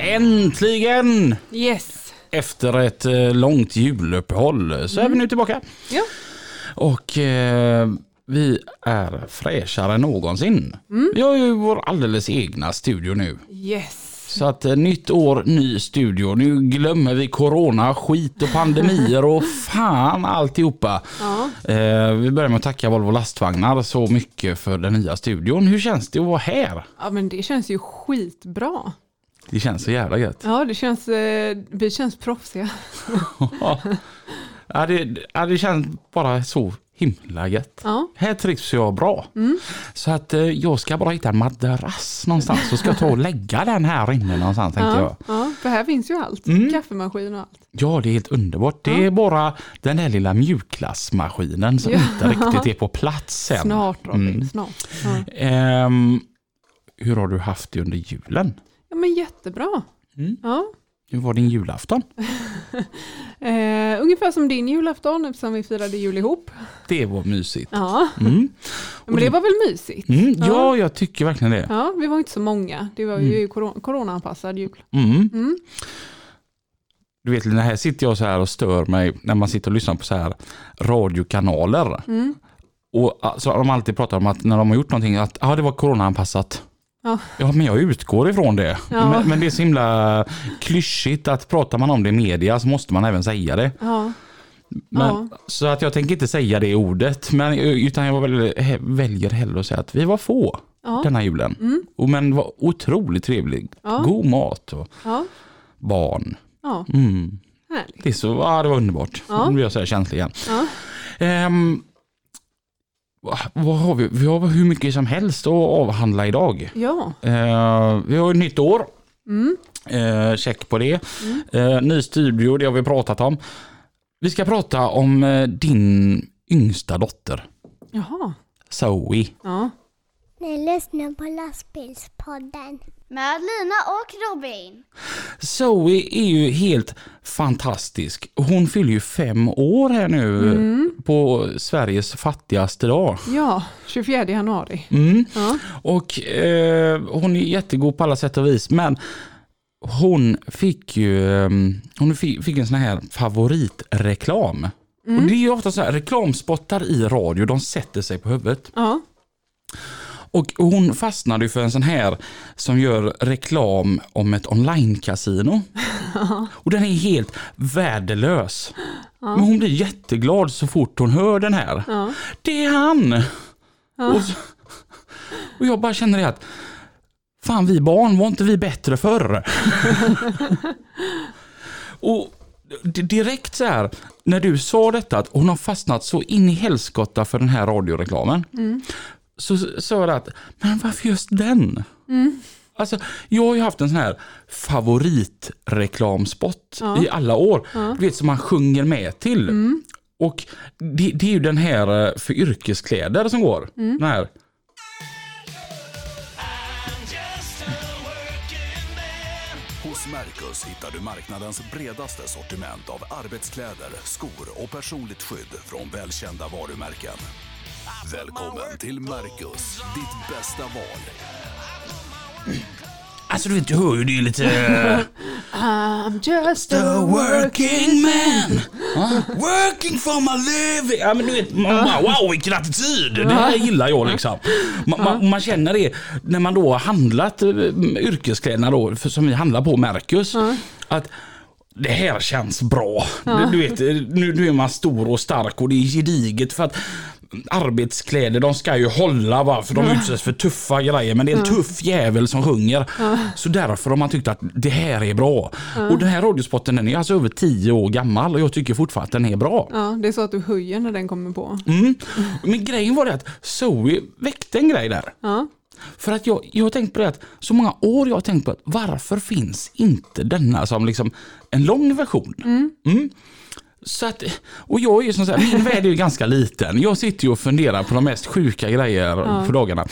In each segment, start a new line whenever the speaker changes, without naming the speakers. Äntligen!
Yes!
Efter ett eh, långt juluppehåll så är vi nu tillbaka.
Ja,
Och eh, vi är fräschare än någonsin. Vi har ju vår alldeles egna studio nu.
yes!
Så att eh, nytt år, ny studio. Nu glömmer vi corona, skit och pandemier och fan alltihopa.
Ja.
Eh, vi börjar med att tacka Volvo Lastvagnar så mycket för den nya studion. Hur känns det att vara här?
Ja men det känns ju skitbra.
Det känns så jävla gött.
Ja det känns, eh, vi känns proffsiga.
ja, det, ja, det känns bara så himla gött.
Ja,
Här trivs jag bra.
Mm.
Så att eh, jag ska bara hitta en madrass någonstans så ska jag ta och lägga den här inne någonstans tänkte jag. Mm.
ja, ja för här finns ju allt. Kaffemaskin och allt.
Ja, det är helt underbart. Det är bara den där lilla mjukglassmaskinen som
Ja.
inte riktigt är på plats än.
Snart Robin,
Mm.
snart. Ja.
Ehm, hur har du haft det under julen?
ja men jättebra.
Mm.
Ja.
Hur var din julafton?
Eh, ungefär som din julafton eftersom vi firade jul ihop.
Det var mysigt.
Ja,
Mm.
men det var väl mysigt.
Mm, ja,
Ja.
jag tycker verkligen det.
Ja, vi var inte så många. Det var ju corona- coronaanpassad jul.
Mm.
Mm.
Du vet, Lina, här sitter jag så här och stör mig när man sitter och lyssnar på så här radiokanaler.
Mm.
Och alltså, de alltid pratar om att när de har gjort någonting, att ah, det var coronaanpassat.
Ja.
ja, men jag utgår ifrån det.
Ja.
Men, men det är så himla klyschigt att pratar man om det i media så måste man även säga det.
Ja,
Men,
Ja.
Så att jag tänker inte säga det ordet, men, eh, utan jag väl, he- väljer hellre att säga att vi var få
ja, Mm.
denna julen. Och, men var otroligt trevligt.
Ja.
God mat och
ja,
barn.
ja.
Mm.
härligt.
Det, är så, ja, det var underbart.
Ja.
Nu blir jag så här känslig igen.
Ja.
Ehm, va- vad har vi? Vi har hur mycket som helst att avhandla idag.
Ja,
Eh, vi har ett nytt år.
mm.
Eh, check på det. Eh, ny studio, det har vi pratat om. Vi ska prata om eh, din yngsta dotter,
jaha.
Zoe.
Ja.
Ni lyssnar på lastbilspodden.
Med Lina och Robin.
Zoe är ju helt fantastisk. Hon fyller ju fem år här nu
Mm.
på Sveriges fattigaste dag.
ja, 24 januari.
Mm.
Ja.
Och eh, hon är jättegod på alla sätt och vis men hon fick ju eh, hon fick, fick en sån här favoritreklam. Och det är ju ofta så här reklamspottar i radio, de sätter sig på huvudet.
Ja.
Och hon fastnade ju för en sån här som gör reklam om ett online-casino. Och den är helt värdelös. Men hon blir jätteglad så fort hon hör den här.
Ja.
Det är han! Och, så, och jag bara känner det att Fan vi barn, var inte vi bättre förr? och d- direkt så här, när du sa detta att hon har fastnat så in i helskotta för den här radioreklamen. Så s- sa jag det att, men varför just den? Alltså, jag har ju haft en sån här favoritreklamspot i alla år. Du vet som man sjunger med till. Och det, det är ju den här eh, för yrkeskläder som går. Den här.
Hos Mercus hittar du marknadens bredaste sortiment av arbetskläder, skor och personligt skydd från välkända varumärken. Välkommen till Mercus, ditt bästa val.
Alltså du vet, du hör ju det är lite...
I'm just
The
a work.
working man! Working for my living! Ja men du vet, man bara, wow vilken attityd! Det här gillar jag liksom. Man, man, man känner det när man då har handlat eh, yrkeskläderna då, för, som vi handlar på Mercus. Att det här känns bra. Du, du vet, eh, nu, nu är man stor och stark och det är gediget för att arbetskläder de ska ju hålla va, för de utsätts för tuffa grejer men det är en tuff jävel som sjunger. Så därför har man tyckt att det här är bra. Och den här radiospotten den är alltså över 10 år gammal och jag tycker fortfarande att den är bra.
Ja, det är så att du höjer när den kommer på.
Mm. Men grejen var det att Zoe väckte en grej där.
Ja.
För att jag, jag har tänkt på det att så många år jag har tänkt på att varför finns inte denna som liksom en lång version? Mm. Så att, och jag är ju som så här, min värld är ju ganska liten. Jag sitter ju och funderar på de mest sjuka grejer på dagarna.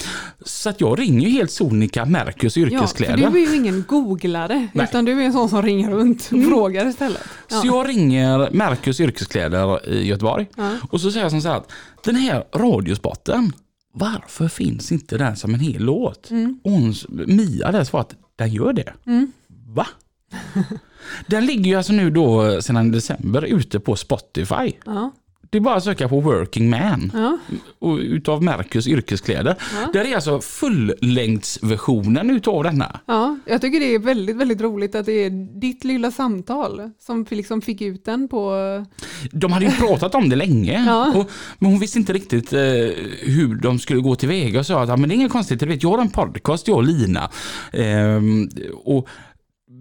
Så att jag ringer ju helt sonika Mercus
Ja, för
yrkeskläder.
du är ju ingen googlare,
Nej. Mm.
utan du är en sån som ringer runt och frågar istället. Ja.
Så jag ringer Mercus yrkeskläder i Göteborg och så säger jag som så här att den här radiospotten, varför finns inte den som en hel låt?
Mm.
Och hon, Mia där svarade att den gör det. Va? den ligger ju alltså nu då sedan december ute på Spotify.
Ja.
Det är bara att söka på Working Man
Ja.
och utav Mercus yrkeskläder. Där är alltså fullängdsversionen utav denna.
Ja, jag tycker det är väldigt, väldigt roligt att det är ditt lilla samtal som liksom fick ut den på...
De hade ju pratat om det länge.
Ja.
Och, men hon visste inte riktigt eh, hur de skulle gå tillväga och sa att "Ja, men det är inget konstigt, du vet, jag har en podcast, jag och Lina. Ehm, och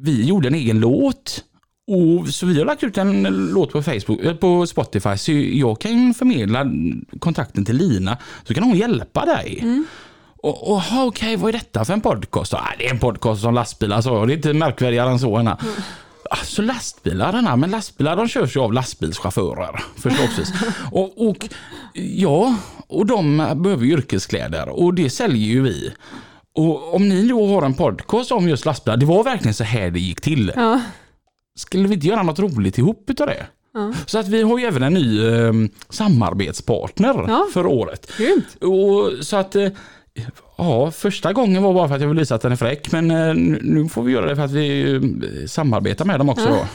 vi gjorde en egen låt. Och, så vi har lagt ut en låt på, Facebook, eh, på Spotify så jag kan förmedla kontakten till Lina så kan hon hjälpa dig. Och, och aha, okej, vad är detta för en podcast? Ah, det är en podcast om lastbilar sa jag. Det är inte märkvärdigare än så. Anna. Alltså lastbilarna, men lastbilar de körs ju av lastbilschaufförer förslagsvis. och, och ja, och de behöver ju yrkeskläder och det säljer ju vi. Och om ni då har en podcast om just lastbilar, det var verkligen så här det gick till.
Ja,
Skulle vi inte göra något roligt ihop utav det? Så att vi har ju även en ny eh, samarbetspartner
Ja.
för året.
grymt.
Och så att, eh, ja, första gången var bara för att jag ville visa att den är fräck, men eh, nu- nu får vi göra det för att vi eh, samarbetar med dem också. Då.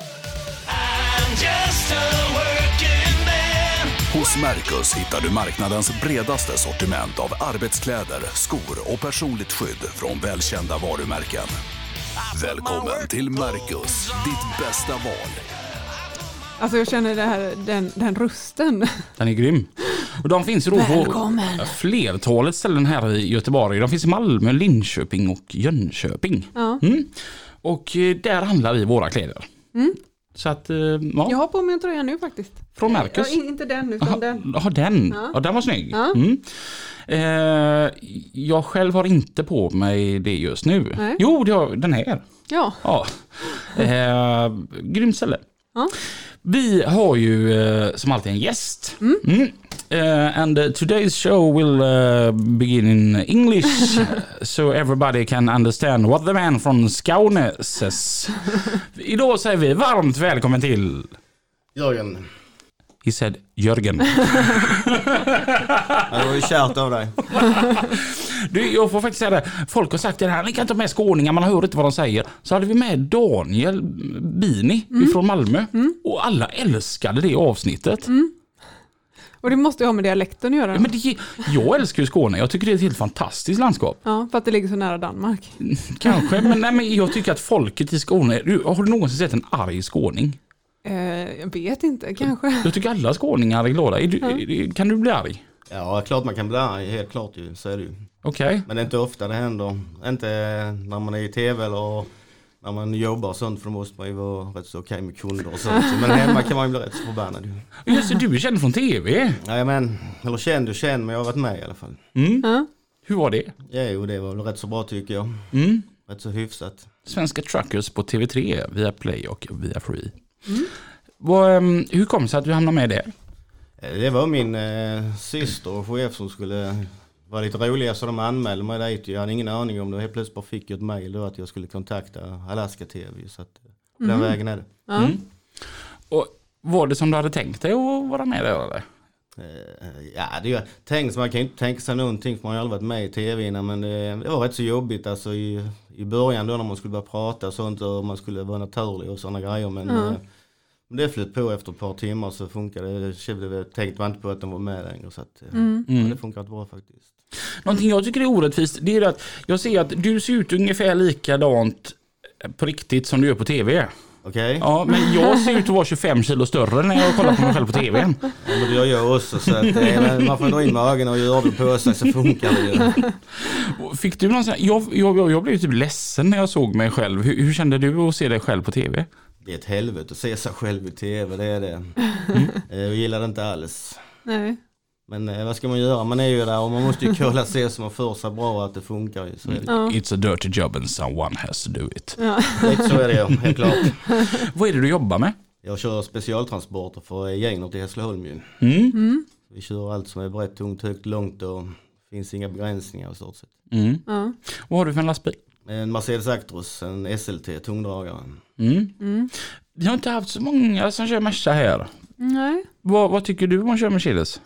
I'm just a working man.
Hos Mercus hittar du marknadens bredaste sortiment av arbetskläder, skor och personligt skydd från välkända varumärken. Välkommen till Mercus, ditt bästa val.
Alltså jag känner det här, den, den rösten.
Den är grym. Och de finns ju då på
Välkommen.
flertalet ställen här i Göteborg. De finns i Malmö, Linköping och Jönköping. Mm. Och eh, där handlar vi våra kläder.
Mm.
Så att, eh, ja,
Jag har på mig en tröja nu faktiskt.
från Marcus.
Ja, in- inte den, utan den.
Ja, den. Ja. den var snygg. Mm. Eh, jag själv har inte på mig det just nu.
Nej.
Jo, det har, den här.
Ja,
Ja. Eh, grymt ställe.
Ja.
Vi har ju eh, som alltid en gäst. Mm. Eh, and uh, today's show will uh, begin in English so everybody can understand what the man from Skåne says. Idag säger vi varmt välkommen till
Jörgen,
He said Jörgen.
ja, det var ju kärt av dig.
Du, jag får faktiskt säga det. Folk har sagt det här, ni kan inte ha med skåningar, man hör inte vad de säger. Så hade vi med Daniel Bini från Malmö och alla älskade det avsnittet.
och det måste ju ha med dialekten att göra.
Ja, men det, jag älskar ju Skåne, jag tycker det är ett helt fantastiskt landskap.
Ja, för att det ligger så nära Danmark.
Kanske, men, nej, men jag tycker att folket i Skåne, du, har du någonsin sett en arg skåning?
Eh, jag vet inte, kanske.
Jag tycker alla skåningar är glada. Är du, är- Kan du bli arg?
Ja, klart man kan bli arg, helt klart ju. Så är det ju.
Okej.
Men det är inte ofta det händer. Inte när man är i tv eller när man jobbar och sånt för då måste man ju vara rätt så okej med kunder och sånt. Men hemma kan man ju bli rätt så förbannad ju.
Just det, du är känd från TV.
Jajamän, eller känd och känd men jag har varit med i alla fall.
Hur var det?
Jo, det var väl rätt så bra tycker jag.
Mm.
Rätt så hyfsat.
Svenska Truckers på TV3 via Play och via Free. Vad, ehm, hur kom det sig att du hamnade med det?
Eh, Det var min eh, syster och chef som skulle vara lite roliga så de anmälde mig dit. Jag hade ingen aning om det. Helt plötsligt bara fick jag ett mail då att jag skulle kontakta Alaska TV. Så att, eh, på den vägen är det.
Och var det som du hade tänkt dig att vara med där eller?
Eh, Ja, det är, tänk, man kan ju inte tänka sig någonting för man har ju aldrig varit med i tv innan men det, det var rätt så jobbigt alltså i, i början då när man skulle börja prata och sånt och man skulle vara naturlig och sådana grejer men eh, men det flöt på efter ett par timmar så funkade det. Det var- tänkte man inte på att de var med längre så att, eh, ja, det funkar bra faktiskt.
Någonting jag tycker är orättvist det är att jag ser att du ser ut ungefär likadant på riktigt som du gör på TV.
Okej?
Ja, men jag ser ut att vara 25 kilo större när jag kollar på mig själv på TVn.
Ja, men det gör jag också så att, eh, men man får dra in magen och göra det på sig så funkar det ju.
Fick du någon sån här, jag, jag, jag- jag blev typ ledsen när jag såg mig själv. Hur, hur kände du att se dig själv på TV?
Det är ett helvete att se sig själv i tv, det är det. Eh, Jag gillar det inte alls.
Nej.
Men eh, vad ska man göra? Man är ju där och man måste ju kolla se så man får sig bra och att det funkar. ju. Så är det.
It's a dirty job and someone has to do it.
Lite så är det ja, helt klart.
Vad är det du jobbar med?
Jag kör specialtransporter för eh, gänget i Hässleholm ju.
Mm.
Vi kör allt som är brett, tungt, högt, långt och finns inga begränsningar i stort sett.
Mm.
Ja.
Vad har du för en lastbil?
En Mercedes Actros, en SLT, tungdragare.
Mm. Vi har inte haft så många som kör Merca här.
Nej.
Vad, vad tycker du om att köra Mercedes?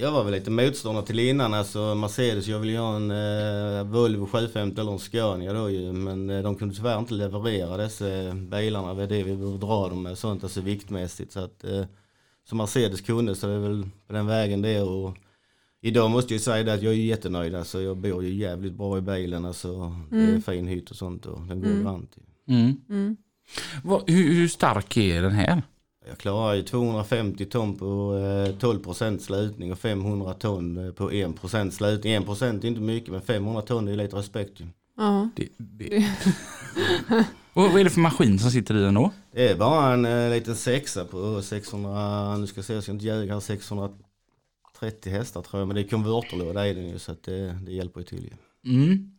Jag var väl lite motståndare till innan, alltså Mercedes, jag ville ju ha en eh, Volvo 750 eller en Scania då ju. Men eh, de kunde tyvärr inte leverera dessa eh, bilarna, det är det vi behöver dra dem med och sånt, alltså viktmässigt. Så att, eh, som Mercedes kunde så det är väl på den vägen det är. och Idag måste jag ju säga det att jag är ju jättenöjd, alltså jag bor ju jävligt bra i bilen, alltså det är fin hytt och sånt och den går brant. ju.
Mm. Vad, hur, hur stark är den här?
Jag klarar ju 250 ton på eh, 12 procent slutning och 500 ton eh, på 1 procent slutning. 1 procent är inte mycket men 500 ton är ju lite respekt. ju.
Ja.
Det, det. och vad är det för maskin som sitter i den då?
Det är bara en eh, liten sexa på 600, nu ska jag se, jag ska inte ljuga här, 630 hästar tror jag. Men det är konverterlåda i den ju så att det, det hjälper ju till ju.
Mm.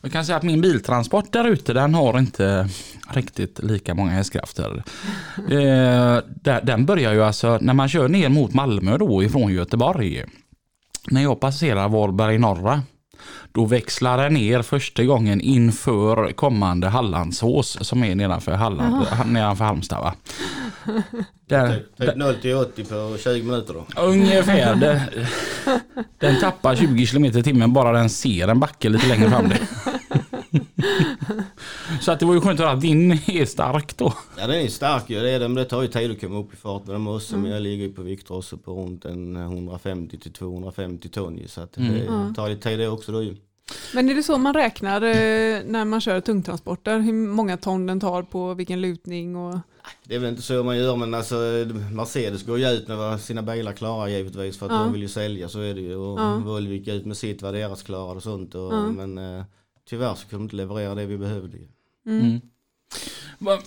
Jag kan säga att min biltransport där ute den har inte riktigt lika många hästkrafter. Eh, där- den börjar ju alltså när man kör ner mot Malmö då ifrån Göteborg. När jag passerar Varberg norra då växlar den ner första gången inför kommande Hallandsås som är nedanför, Halland, nedanför Halmstad. Va? Där,
Typ 0 till 80 på 20 minuter då.
Ungefär. Den, den tappar 20 km i timmen bara den ser en backe lite längre fram. Det. Så att det var ju skönt att höra att din är stark då.
Ja den är ju stark ju, det är den, men det tar ju tid att komma upp i fart med den också. Men jag ligger ju på vikter också på runt en 150 till 250 ton ju så att det tar lite tid det också då ju.
Men är det så man räknar eh, när man kör tungtransporter? Hur många ton den tar på vilken lutning? Och...
Det är väl inte så man gör men alltså Mercedes går ju ut med vad sina bilar klarar givetvis för att de vill ju sälja så är det ju. Och Volvo gick ut med sitt vad deras klarar och sånt. Och, Men eh, tyvärr så kunde de inte leverera det vi behövde. ju.
Va-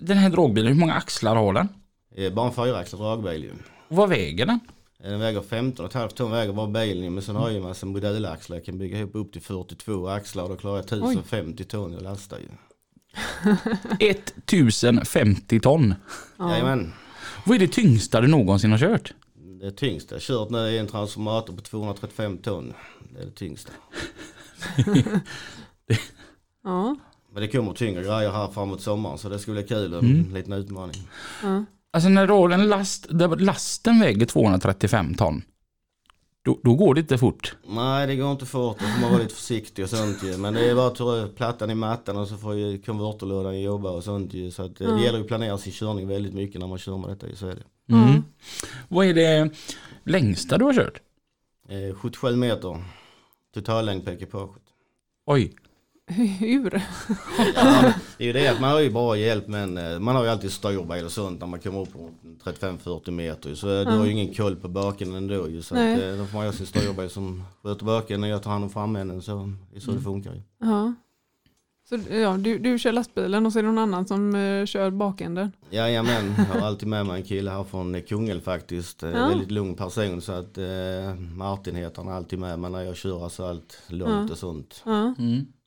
Den här dragbilen, hur många axlar har den?
Eh, Bara en fyraxlad dragbil ju.
Och vad väger den?
Eh, Den väger 15,5 ton väger bara bilen ju, men sen har jag ju en massa modulaxlar. Jag kan bygga ihop upp till 42 axlar och då klarar jag 1050 ton att lasta ju.
1050 ton.
Jajamän.
Vad är det tyngsta du någonsin har kört?
Det tyngsta jag kört nu är en transformator på 235 ton. Det är det tyngsta.
Ja.
Men det kommer tyngre grejer här framåt sommaren så det skulle bli kul. och En liten utmaning.
Alltså när du har en last, där lasten väger 235 ton. Då, då går det inte fort.
Nej det går inte fort, då får man vara lite försiktig och sånt ju. Men det är bara att ta plattan i mattan och så får ju konverterlådan jobba och sånt ju. Så att eh, det gäller ju att planera sin körning väldigt mycket när man kör med detta ju, så är det.
Mm. Vad är det längsta du har kört?
Eh, 77 meter totallängd på ekipaget.
Oj.
Hur?
Det är ju det att man har ju bra hjälp men eh, man har ju alltid styrbil och sånt när man kommer upp på 35-40 meter ju. Så eh, du har ju ingen koll på baken ändå ju. Så att,
Nej.
eh, då får man ju sin styrbil som sköter baken och jag tar hand om framänden så det är så
Mm.
det funkar ju.
Ja. Så, ja, du, du kör lastbilen och så är det någon annan som eh, kör bakänden.
Jajamän, jag har alltid med mig en kille här från Kungälv faktiskt. Eh, Väldigt lugn person så att eh, Martin heter han alltid med mig när jag kör alltså allt långt och sånt.
Ja.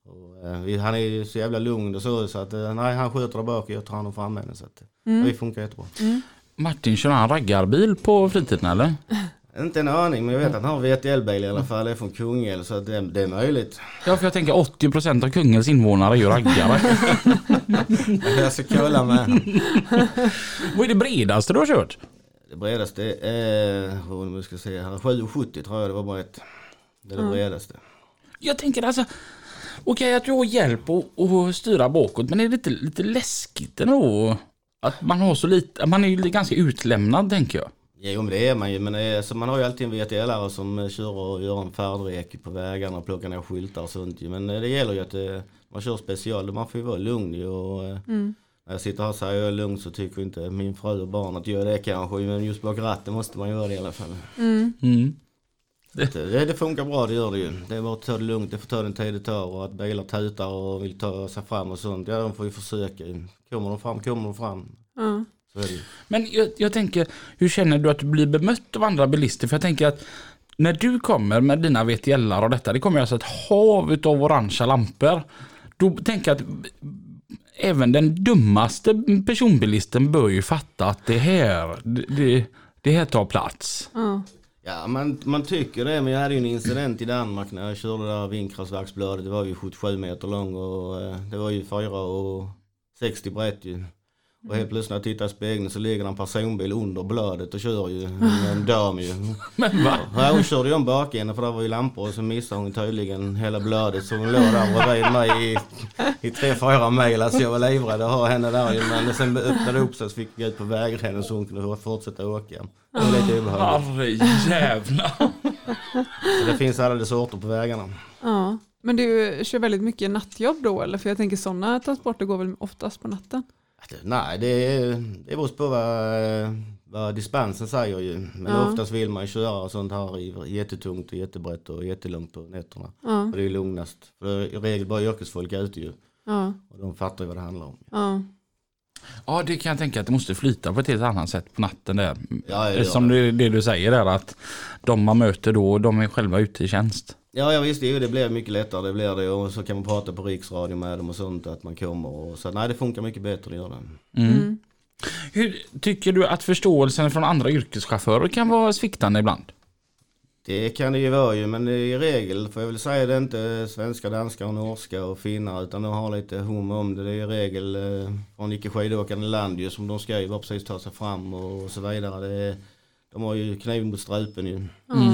Och, eh, vi- han är ju så jävla lugn och så så att eh, nej, han sköter där bak och jag tar hand om framänden. Så att mm. det funkar jättebra.
Martin, kör han raggarbil på fritiden eller?
Inte en aning men jag vet att han har VTL-bil i alla fall, det är från Kungälv så att det, det är möjligt.
Ja, för jag tänker 80% av Kungälvs invånare är ju raggare.
Jag ska kolla med
Vad är det bredaste du har kört?
Det bredaste är, oh, nu ska jag se här, 7,70 tror jag det var brett. Det är det bredaste.
Jag tänker alltså, okej att du har hjälp att att styra bakåt, men är det inte lite läskigt ändå? Att man har så lite, man är ju ganska utlämnad tänker jag.
Jo men det är man ju. Men det är, så man har ju alltid en VTLare som eh, kör och gör en färdrek på vägarna och plockar ner skyltar och sånt ju. Men eh, det gäller ju att eh, man kör special. Man får ju vara lugn ju. Och, eh, När jag sitter här och säger jag är lugn så tycker inte min fru och barn att jag är det kanske. Men just bak ratten måste man göra det i alla fall.
Mm.
Så att, eh, Det, det funkar bra, det gör det ju. Det är bara att ta det lugnt. Det får ta den tid det tar och att bilar tutar och vill ta sig fram och sånt. Ja de får ju försöka. ju. Kommer de fram, kommer de fram.
Ja.
Så är det ju.
Men jag, jag tänker, hur känner du att du blir bemött av andra bilister? För jag tänker att när du kommer med dina vtl och detta, det kommer alltså ett hav utav orangea lampor. Då tänker jag att även den dummaste personbilisten bör ju fatta att det här, det- det, det här tar plats.
Ja, man, man tycker det, men jag hade ju en incident i Danmark när jag körde det där vindkraftverksblödet. Det var ju 77 meter lång och eh, det var ju 4 och 60 brett ju. Och helt plötsligt när jag tittar i spegeln så ligger det en personbil under blödet och kör ju. En dam ju.
Men va?
Ja, hon körde ju om bakänden för där var ju lampor och så missade hon tydligen hela blödet så hon låg där bredvid mig i, i tre, fyra mil. Alltså jag var livrädd att ha henne där ju. Men sen öppnade det upp sig så fick jag ut på vägrenen så hon kunde fortsätta åka. Det var lite obehagligt.
Herrejävlar.
Så Det finns alla de sorter på vägarna.
Ja. Men du kör väldigt mycket nattjobb då eller? För jag tänker sådana transporter går väl oftast på natten?
Att, Nej, det, det beror på vad, vad dispensen säger ju. Men
Ja.
oftast vill man ju köra och sånt här i- jättetungt och jättebrett och jättelångt på nätterna.
Ja.
Och det är lugnast. För det är i regel bara yrkesfolk ute ju.
Ja.
Och de fattar ju vad det handlar om.
Ja.
Ja, det kan jag tänka att det måste flyta på ett helt annat sätt på natten där.
Ja, ja, ja.
Som det, det du säger där att de man möter då, de är själva ute i tjänst.
Ja, jag visste ju det blir mycket lättare. Det blir det. Och så kan man prata på riksradio med dem och sånt. Att man kommer. Och så nej, det funkar mycket bättre. Det gör det.
Hur tycker du att förståelsen från andra yrkeschaufförer kan vara sviktande ibland?
Det kan det ju vara ju, men i regel får jag väl säga det är inte svenska, danska och norska och finnar utan de har lite hum om det. Det är i regel eh, från icke skidåkande land ju som de ska ju bara precis ta sig fram och så vidare. Det, är- de har ju kniven mot strupen ju.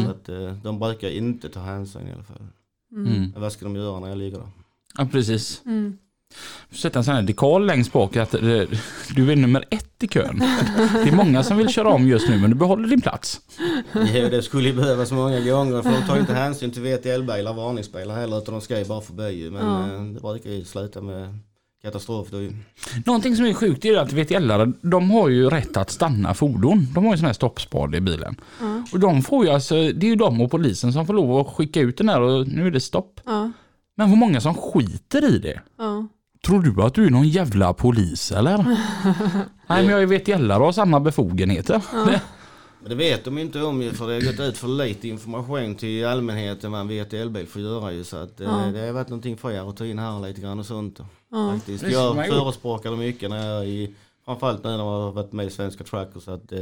Så att, eh, de brukar inte ta hänsyn i alla fall.
Mm.
Men vad ska de göra när jag ligger där?
Ja, precis. Sätta en sån här dekal längst bak att eh, du är nummer ett i kön. Det är många som vill köra om just nu men du behåller din plats.
Jo, det skulle ju behövas många gånger för de tar ju inte hänsyn till VTL-bilar, varningsbilar heller utan de ska ju bara förbi ju. Men eh, det brukar ju sluta med katastrof då ju.
Någonting som är sjukt är ju att VTL-are, de har ju rätt att stanna fordon. De har ju sån här stoppspade i bilen. Och de får ju alltså, det är ju de och polisen som får lov att skicka ut den här och nu är det stopp.
Ja.
Men hur många som skiter i det?
Ja.
Tror du att du är någon jävla polis eller? Nej men jag är VTL-are och har samma befogenheter.
Men det vet de inte om ju för det har gått ut för lite information till allmänheten vad en VTL-bil får göra ju. Så att eh, det har varit någonting för er att ta in här lite grann och sånt. Faktiskt.
Det ska man
Jag
ju.
förespråkar det mycket när jag i, framförallt nu när jag har varit med i Svenska Truckers att eh,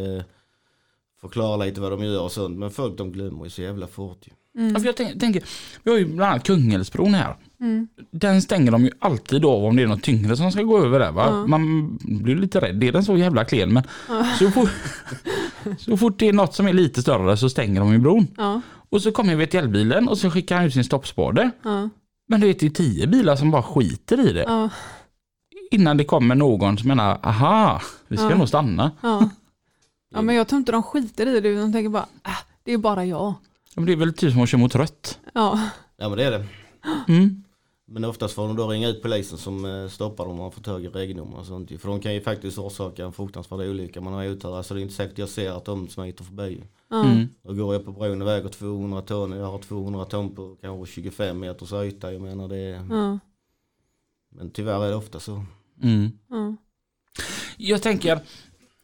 förklara lite vad de gör och sånt. Men folk de glömmer ju så jävla fort ju.
Mm.
Ja, för Alltså, jag tänk, tänker, vi har ju bland annat Kungälvsbron här.
Mm.
Den stänger de ju alltid av om det är något tyngre som ska gå över där va? Man blir lite rädd, är den så jävla klen? Men så, fort, så fort det är något som är lite större så stänger de ju bron.
Ja.
Och så kommer VTL-bilen och så skickar han ut sin stoppspade. Men det är ju tio bilar som bara skiter i det.
Ja.
Innan det kommer någon som menar, aha, vi ska nog stanna.
Ja. ja men jag tror inte de skiter i det. De tänker bara, äh, det är bara jag.
Ja, men Det är väl typ som att köra mot rött.
Ja.
Ja men det är det.
Mm.
Men oftast får de då ringa ut polisen som eh, stoppar dem om man får tag i regnummer och sånt ju. För de kan ju faktiskt orsaka en fruktansvärd olycka. Man har otur. Alltså det är inte säkert jag ser att de smiter förbi ju.
Mm.
Då går jag på bron och väger 200 ton och jag har 200 ton på kanske 25 meters yta. Jag menar det är,
Ja.
Men tyvärr är det ofta så.
Mm.
Ja.
Jag tänker,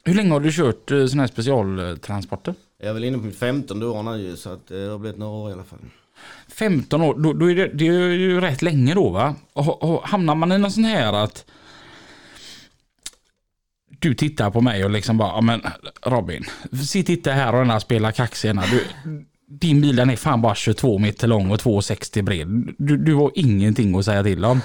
hur länge har du kört eh, såna här specialtransporter?
Jag är väl inne på mitt 15 år nu ju, så att eh, det har blivit några år i alla fall.
15 år, då, då är det, det är ju rätt länge då va? Och, och, hamnar man i någon sån här att du tittar på mig och liksom bara, ja men Robin, sitt inte här och den här spela kaxig Du, din bil den är fan bara 22 meter lång och 2,60 bred. Du, du har ingenting att säga till om.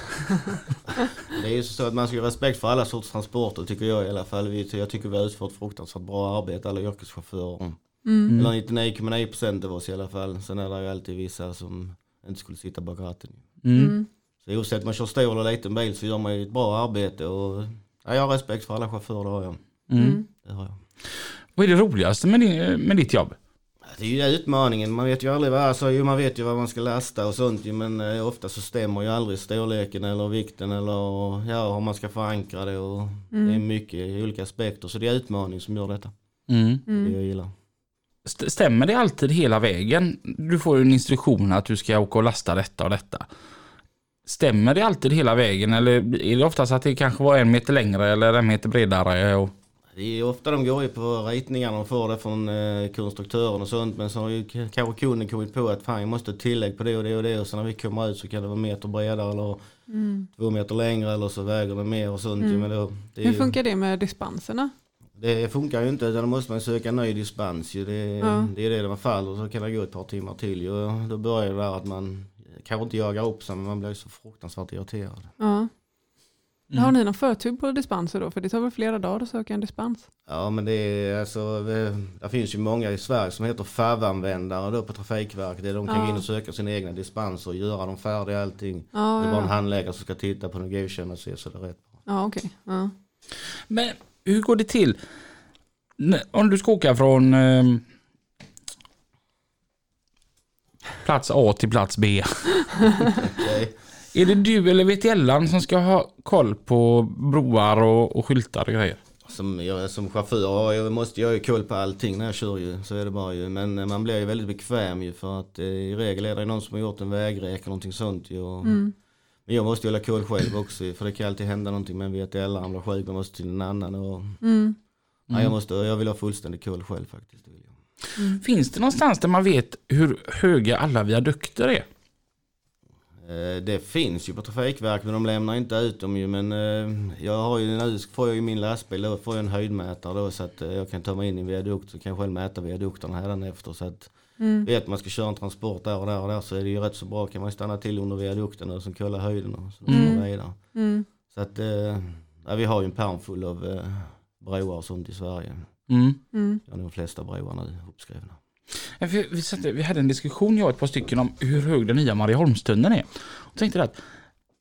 Det är ju så att man ska ha respekt för alla sorts transporter tycker jag i alla fall. Vi- Jag tycker vi har utfört fruktansvärt bra arbete alla yrkeschaufförer.
Mm.
Eller 99,9% av oss i alla fall. Sen är det ju alltid vissa som inte skulle sitta bak ratten.
Mm.
Så oavsett om man kör stor eller liten bil så gör man ju ett bra arbete. Och, ja, jag har respekt för alla chaufförer, det har jag.
Mm.
Det har jag.
Vad är det roligaste med, din, med ditt jobb?
Det är ju utmaningen, man vet ju aldrig vad, alltså, jo, man vet ju vad man ska lasta och sånt ju, men eh, ofta så stämmer ju aldrig storleken eller vikten eller ja, hur man ska förankra det och det är mycket olika aspekter så det är utmaning som gör detta.
Mm.
Det jag gillar.
St- Stämmer det alltid hela vägen? Du får ju en instruktion att du ska åka och lasta detta och detta. Stämmer det alltid hela vägen eller är det oftast att det kanske var en meter längre eller en meter bredare? Och...
Det är ofta de går ju på ritningarna och får det från eh, konstruktören och sånt. Men så har ju k- kanske kunden kommit på att fan jag måste ha tillägg på det och det och det. Och så när vi kommer ut så kan det vara meter bredare eller två meter längre eller så väger det mer och sånt. ju. Men då, det, är
Hur
ju-
funkar det med dispenserna?
det funkar ju inte utan då måste man söka ny dispens. Ju. Det, det är det man faller så kan det gå ett par timmar till. Ju. Och Då börjar det där att man kanske inte jagar upp sig men man blir så fruktansvärt irriterad.
Ja. Mm. Har ni någon förtur på dispenser då? För det tar väl flera dagar att söka en dispens?
Ja men det är alltså, eh, det finns ju många i Sverige som heter FAV-användare då på Trafikverket. Det är De kan gå in och söka sina egna dispenser och göra dem färdiga allting. det är bara en handläggare som ska titta på den och godkänna och se så det är rätt.
Ja, okej. Ja.
Men hur går det till? N- Om du ska åka från ehm, plats A till plats B.
Okej.
Är det du eller VTLan som ska ha koll på broar och, och skyltar och grejer?
Som, jag, som chaufför ja, jag måste jag har ju koll på allting när jag kör ju. Så är det bara ju. Men eh, man blir ju väldigt bekväm ju för att eh, i regel är det någon som har gjort en vägrek eller någonting sånt ju. Och, Men jag måste ju hålla koll själv också ju, för det kan alltid hända någonting med en VTL. Han blir sjuk, man måste till en annan. Och, Nej, jag, måste, jag vill ha fullständig koll själv faktiskt. det Vill jag.
Finns det någonstans där man vet hur höga alla viadukter är?
Eh, Det finns ju på Trafikverket men de lämnar inte ut dem ju. Men eh, jag har ju, nu får jag ju min lastbil då, får jag en höjdmätare då så att eh, jag kan ta mig in i en viadukt så kan jag själv mäta viadukterna hädanefter. Så att vet man ska köra en transport där och där och där så är det ju rätt så bra. Kan man stanna till under viadukten och sen kolla höjden och så mm. vidare. Så att eh, ja, vi har ju en pärm full av eh, broar och sånt i Sverige.
Mm.
Ja, de flesta broar nu uppskrivna.
Ja, Vi, vi, satt, vi hade en diskussion, jag och ett par stycken, om hur hög den nya Marieholmstunneln är. Och tänkte att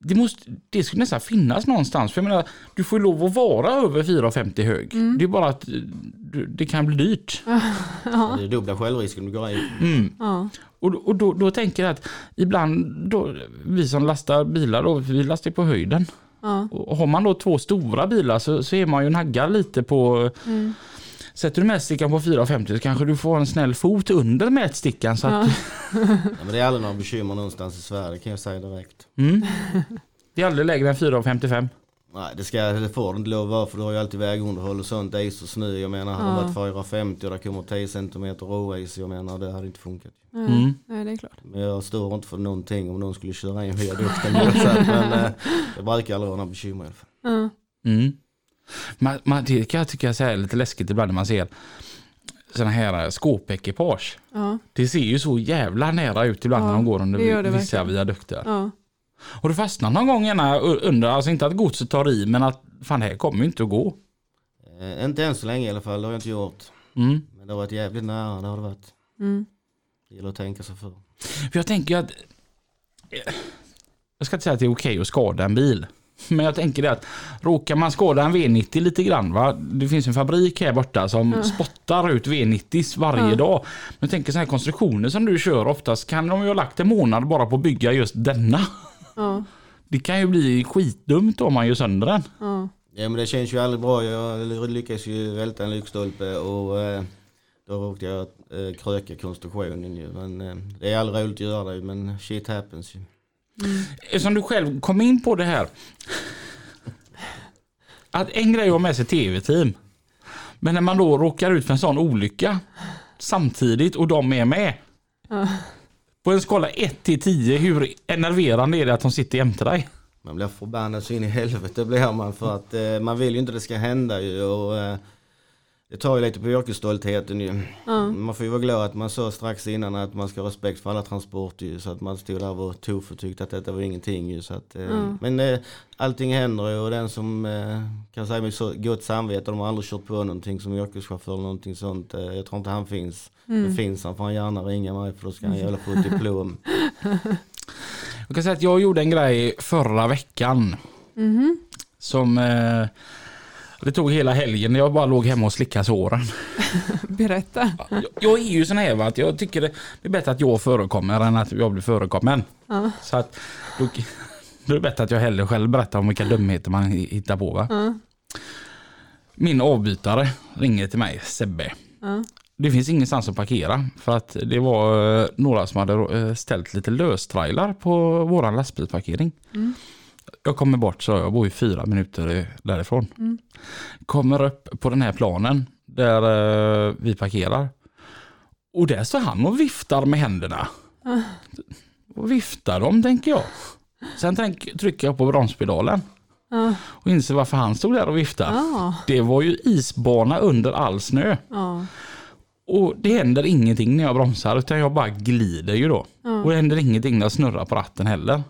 det, måste, det skulle nästan finnas någonstans. För jag menar, du får ju lov att vara över 4,50 hög. Det är bara att eh, du, det kan bli dyrt.
Det är dubbla självrisken du går i.
Och, och då, då tänker jag att ibland, då, vi som lastar bilar, då, vi lastar ju på höjden. Och har man då två stora bilar så, så är man ju naggad lite på... Sätter du mätstickan på 4,50 så kanske du får en snäll fot under mätstickan. Så att,
Ja, men det är aldrig några bekymmer någonstans i Sverige, det kan jag säga direkt.
Mm. Det är aldrig lägre än 4,55.
Nej, det, ska, det får du inte lov att vara för du har ju alltid vägunderhåll och sånt, is och snö. Jag menar, hade det varit 450 och det kommer 10 cm råis, jag menar det hade inte funkat. Mm.
Nej, det är klart.
Men jag står inte för någonting om någon skulle köra in viadukten. på något sätt, men eh, det brukar aldrig vara några bekymmer i alla fall.
Mm. Man, man, det kan jag tycka så här är lite läskigt ibland när man ser sådana här skåpekipage.
Ja.
Det ser ju så jävla nära ut ibland när de går under
det gör det
vissa
verkligen.
viadukter.
Ja.
Har du fastnat någon gång gärna under, alltså inte att godset tar i men att fan det här kommer ju inte att gå.
Eh, inte än så länge i alla fall, det har jag inte gjort.
Mm.
Men det har varit jävligt nära, det har det varit.
Mm.
Det gäller att tänka sig för.
För jag tänker ju att jag ska inte säga att det är okej att skada en bil. Men jag tänker det att råkar man skada en V90 lite grann va. Det finns en fabrik här borta som spottar ut V90 varje dag. Men jag tänker sådana här konstruktioner som du kör oftast kan de ju ha lagt en månad bara på att bygga just denna.
Ja.
Det kan ju bli skitdumt om man gör sönder den.
Ja.
Ja men det känns ju aldrig bra. Jag lyckades ju välta en lyktstolpe och eh, då råkade jag eh, kröka konstruktionen ju. Men eh, det är aldrig roligt att göra det men shit happens ju.
Eftersom du själv kom in på det här. Att en grej är att ha med sig tv-team. Men när man då råkar ut för en sån olycka samtidigt och de är med. På en skala 1 till 10, hur enerverande är det att de sitter jämte dig?
Man blir förbannad så in i helvete blir man för att eh, man vill ju inte det ska hända ju och eh, det tar ju lite på yrkesstoltheten ju. Man får ju vara glad att man sa strax innan att man ska ha respekt för alla transporter ju så att man stod där och var tuff och tyckte att detta var ingenting ju. Så att, eh, Men eh, allting händer ju och den som eh, kan säga med så gott samvete, de har aldrig kört på någonting som yrkeschaufför eller någonting sånt. Eh, jag tror inte han finns. Men finns han får han gärna ringa mig för då ska han jävla få ett diplom.
Jag kan säga att jag gjorde en grej förra veckan. Som... Eh, det tog hela helgen jag bara låg hemma och slickade såren.
Berätta.
Jag, jag är ju sån här va, att jag tycker det, det är bättre att jag förekommer än att jag blir förekommen. Så att då, då är det bättre att jag hellre själv berättar om vilka dumheter man hi- hittar på va. Min avbytare ringer till mig, Sebbe. Det finns ingenstans att parkera för att det var eh, några som hade eh, ställt lite löstrailar på våran lastbilsparkering. Jag kommer bort, så jag bor ju fyra minuter i- därifrån.
Mm.
Kommer upp på den här planen där eh, vi parkerar. Och där står han och viftar med händerna. Och viftar dem tänker jag. Sen tänk, trycker jag på bromspedalen
Ja.
och inser varför han stod där och viftade.
Ja.
Det var ju isbana under all snö.
Ja.
Och det händer ingenting när jag bromsar utan jag bara glider ju då. Och det händer ingenting när jag snurrar på ratten heller.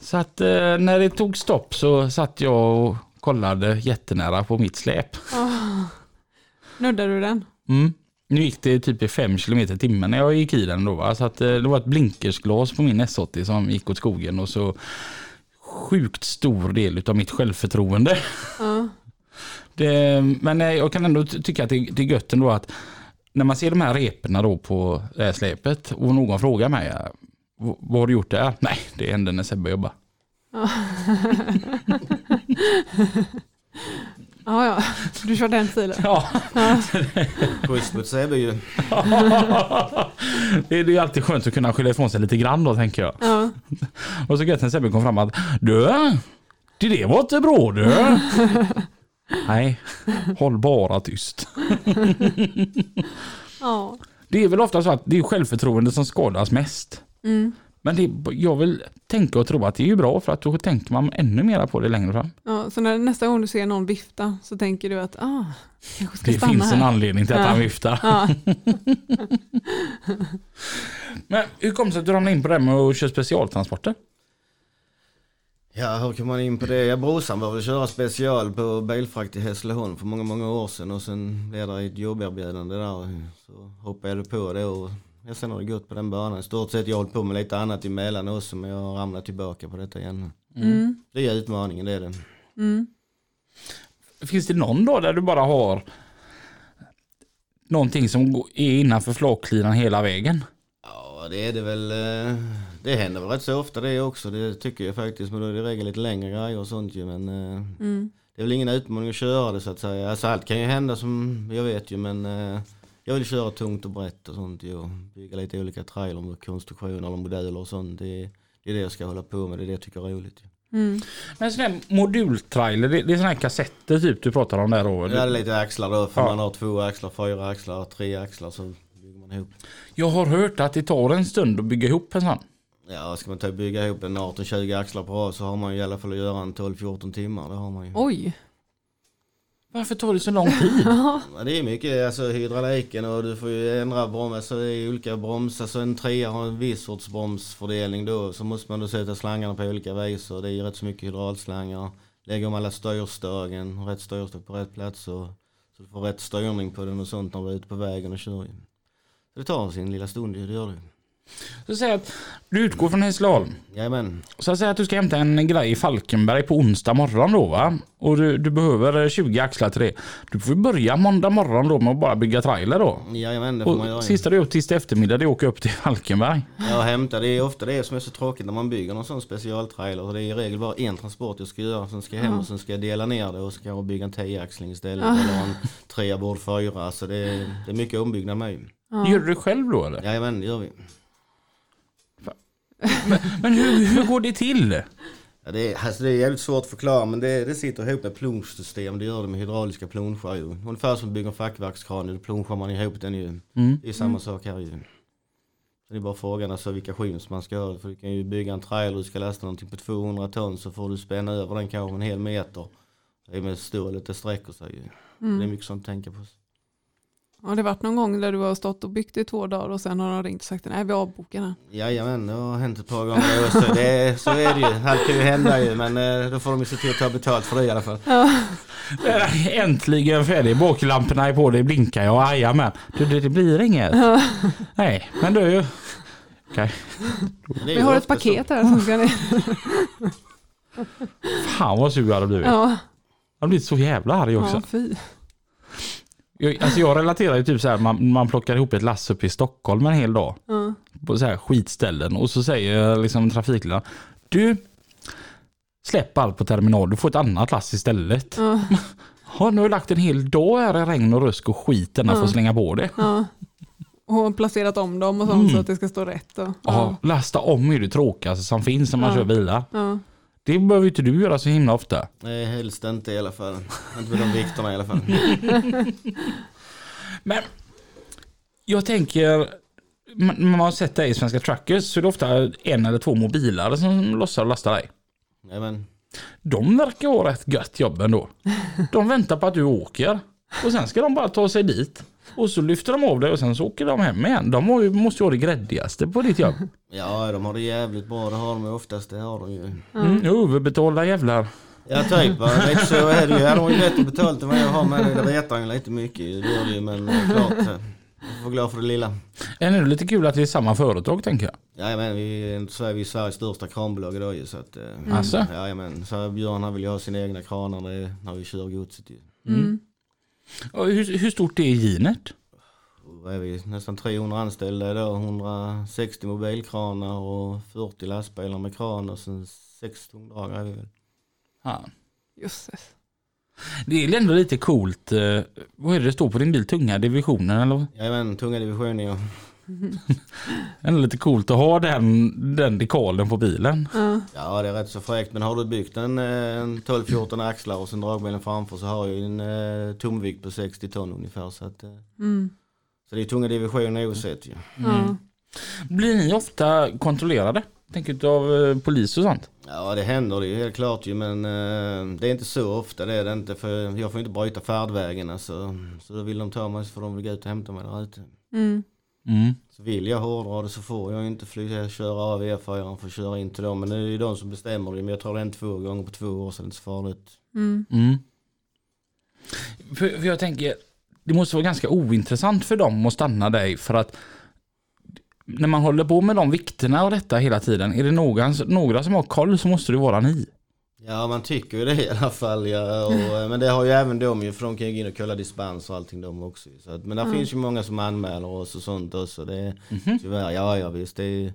Så att eh, när det tog stopp så satt jag och kollade jättenära på mitt släp.
Nuddar du den?
Mm. Nu gick det typ i 5 km i timmen när jag gick i den då. Va? Så att, eh, det var ett blinkersglas på min S80 som gick åt skogen och så sjukt stor del av mitt självförtroende.
Ja.
Det, men eh, jag kan ändå ty- tycka att det, det är gött ändå att när man ser de här reporna då på det här släpet och någon frågar mig eh, "V- vad har du gjort där? Nej, det hände när Sebbe jobbade.
Ja, ja. Du kör den stilen.
Ja,
Schysst mot Sebbe ju.
det är det är ju alltid skönt att kunna skylla ifrån sig lite grann då tänker jag.
Ja.
Och så gött när Sebbe kom fram att du, det det var inte bra du. Nej, håll bara tyst.
Ja.
Det är väl ofta så att det är självförtroende som skadas mest.
Mm.
Men det, jag vill tänka och tro att det är ju bra för att då tänker man ännu mer på det längre fram.
Ja, så när, nästa gång du ser någon vifta så tänker du att ah, jag kanske ska
Det
stanna
finns
här.
en anledning till att
Ja.
han viftar.
Ja.
Men hur kom det sig att du ramlade in på det här med att köra specialtransporter?
Ja, hur kom man in på det? Ja, brorsan började köra special på bilfrakt i Hässleholm för många, många år sedan och sen blev det ett jobberbjudande där. Så hoppade jag på det och ja, sen har det gått på den banan. I stort sett jag har hållit på med lite annat emellan också men jag har ramlat tillbaka på detta igen.
Mm.
Det är utmaningen, det är det.
Mm.
Finns det någon dag där du bara har någonting som går- är innanför flaklinan hela vägen?
Ja, det är det väl. eh, Det händer väl rätt så ofta det också, det tycker jag faktiskt. Men då är det i regel lite längre grejer och sånt ju. Men eh,
Mm.
det är väl ingen utmaning att köra det så att säga. Alltså allt kan ju hända som jag vet ju men eh, jag vill köra tungt och brett och sånt ju. Och bygga lite olika trailer med konstruktioner och modeller och sånt. Det, det är det jag ska hålla på med, det är det jag tycker är roligt. Ju.
Mm.
Men sån här modultrailer, det, det är såna här kassetter typ du pratar om där då?
Jag hade lite axlar då, för
Ja.
man har två axlar, fyra axlar, tre axlar så bygger man ihop.
Jag har hört att det tar en stund att bygga ihop en sån.
Ja, ska man ta och bygga ihop en 18-20 axlar på rad så har man ju i alla fall att göra en 12-14 timmar, det har man ju.
Oj.
Varför tar det så lång tid?
Ja, det är mycket, alltså hydrauliken och du får ju ändra broms, alltså det är olika bromsar. Så en trea har en viss sorts bromsfördelning då. Så måste man då sätta slangarna på olika vis och det är ju rätt så mycket hydraulslangar. Lägger om alla styrstagen, rätt styrstag på rätt plats och så du får rätt styrning på den och sånt när du är ute på vägen och kör. ju. Så det tar sin lilla stund, ju, det gör det ju.
Så säg att du utgår från Hässleholm.
Jajamän.
Så säg att du ska hämta en grej i Falkenberg på onsdag morgon då va? Och du, du behöver eh, 20 axlar till det. Du får ju börja måndag morgon då med att bara bygga trailer då.
Jajamän, det får man göra.
Och
ju.
sista du gör tisdag eftermiddag det är att åka upp till Falkenberg.
Ja, och hämta. Det är ofta det som är så tråkigt när man bygger någon sån specialtrailer. Så det är i regel bara en transport jag ska göra. Sen ska jag hem och sen ska jag dela ner det och så kan jag bygga en 10-axling istället. Eller en trea bord fyra. Så det är, det är mycket ombyggnad med.
Gör du det själv då eller?
Jajamän, det gör vi.
Men hur, hur går det till?
Ja, det, är, alltså det är jävligt svårt att förklara men det, det sitter ihop med plonsystem. Det gör det med hydrauliska plonschar ju. Ungefär som bygger en fackverkskran. Då plonschar man ihop den ju. Det är samma
Mm.
sak här ju. Så det är bara frågan alltså vilka skims man ska ha. För du kan ju bygga en trailer. Du ska lasta någonting på 200 ton. Så får du spänna över den kanske en hel meter. Det är med stor lite sträcker sig ju.
Mm.
Det är mycket sånt att tänka på.
Har det varit någon gång där du har stått och byggt i två dagar och sen har de ringt och sagt nej vi avbokar den.
Jajamän, det har hänt ett par gånger det också. Det, så är det ju. Allt kan ju hända ju. Men eh, då får de ju se till att ta betalt för det i alla fall.
Äntligen färdig, baklamporna är på, det blinkar jag, jajamän. Du, det, det blir inget. Nej, men du. Okej.
Det är
Vi
ju
har ett
ofta så.
paket här som ska ner.
Fan vad sur jag hade blivit.
Ja,
Jag har blivit så jävla arg också.
ja fy.
Jag, alltså jag relaterar ju typ så här, man, man plockar ihop ett lass uppe i Stockholm en hel dag.
Ja.
På så här skitställen och så säger liksom trafikledaren, du släpp allt på terminal, du får ett annat lass istället.
Ja.
Ja, nu har jag lagt en hel dag här i regn och rusk och skit innan jag får slänga på det.
Ja. Och placerat om dem och sånt så att det ska stå rätt. Och,
Ja, lasta om är det tråkigaste som finns när man
Ja.
kör bilar.
Ja.
Det behöver ju inte du göra så himla ofta.
Nej, helst inte i alla fall. Inte med de vikterna i alla fall.
Men jag tänker, man, man har sett dig i Svenska Truckers så är det ofta en eller två mobilar som lossar och lastar dig.
Nej, men,
De verkar ha rätt gött jobb ändå. De väntar på att du åker och sen ska de bara ta sig dit. Och så lyfter de av dig och sen så åker de hem igen. De har ju, måste ju ha det gräddigaste på ditt jobb.
ja, de har det jävligt bra. Det har de ju oftast. Det har de ju.
Mm, överbetalda jävlar.
Ja, typ. va. Lite så är det ju. Hade hon ju bättre betalt än vad jag har med det. Det retar ju lite mycket. Det gör det ju, men eh, klart. eh, Man får vara glad för det lilla.
Är det lite kul att det är samma företag tänker jag.
Jajamän, vi är, så är vi Sveriges största kranbolag idag ju. Så att, eh,
Alltså?
Jajamän, så Björn han vill ju ha sina egna kranar när det- när vi kör godset ju.
Mm.
Och Hur, hur stort är ginet?
Då är vi nästan 300 anställda idag, 160 mobilkranar och 40 lastbilar med kran och sen 6 tungdragare är vi väl.
Ja.
Jösses.
Det är ändå lite coolt. eh, Vad är det det står på din bil? Tunga divisionen eller? vad?
Jajamän, tunga divisioner ja.
Det är ändå lite coolt att ha den, den dekalen på bilen.
Ja det är rätt så fräckt men har du byggt en, eh, en 12-14 axlar och sen dragbilen framför så har ju en eh, tomvikt på 60 ton ungefär. Så, att, eh,
Mm.
så det är tunga divisioner oavsett ju.
Ja.
Blir ni ofta kontrollerade? Tänker utav eh, polis och sånt?
Ja det händer det ju helt klart ju men eh, det är inte så ofta det är det inte för jag får inte bryta färdvägen alltså. Så då vill de ta mig så får de väl gå ut och hämta mig där ute.
Mm.
Mm.
Så vill jag hårdra det så får jag inte flyga, köra av E4 för att köra in till dem. Men det är ju de som bestämmer det. Men jag tror det är en två gånger på två år sedan det är inte så farligt.
Mm.
Mm. För, för jag tänker, det måste vara ganska ointressant för dem att stanna dig för att när man håller på med de vikterna och detta hela tiden, är det någon, några som har koll så måste det vara ni.
Ja man tycker ju det i alla fall. Ja. Och, eh, men det har ju även de ju för de kan ju gå in och kolla dispens och allting de också. ju. Så att, men det finns ju många som anmäler oss och sånt också. Det, är Tyvärr, ja ja visst. Det, är-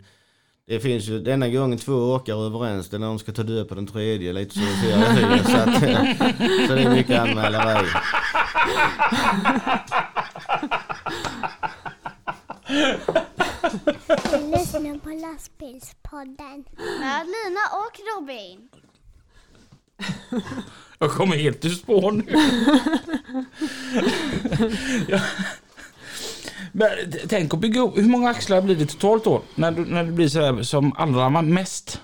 det finns ju denna gången två åkare överens. Det är när de ska ta död på den tredje lite så ser jag det. ju. Så, att, så det är mycket anmäleri.
Du lyssnar på Lastbilspodden.
Med Lina och Robin.
Jag kommer helt ur spår nu. Ja. Men t- tänk att bygga upp, hur många axlar blir det totalt då? När du, när det blir sådär som allra ma- mest?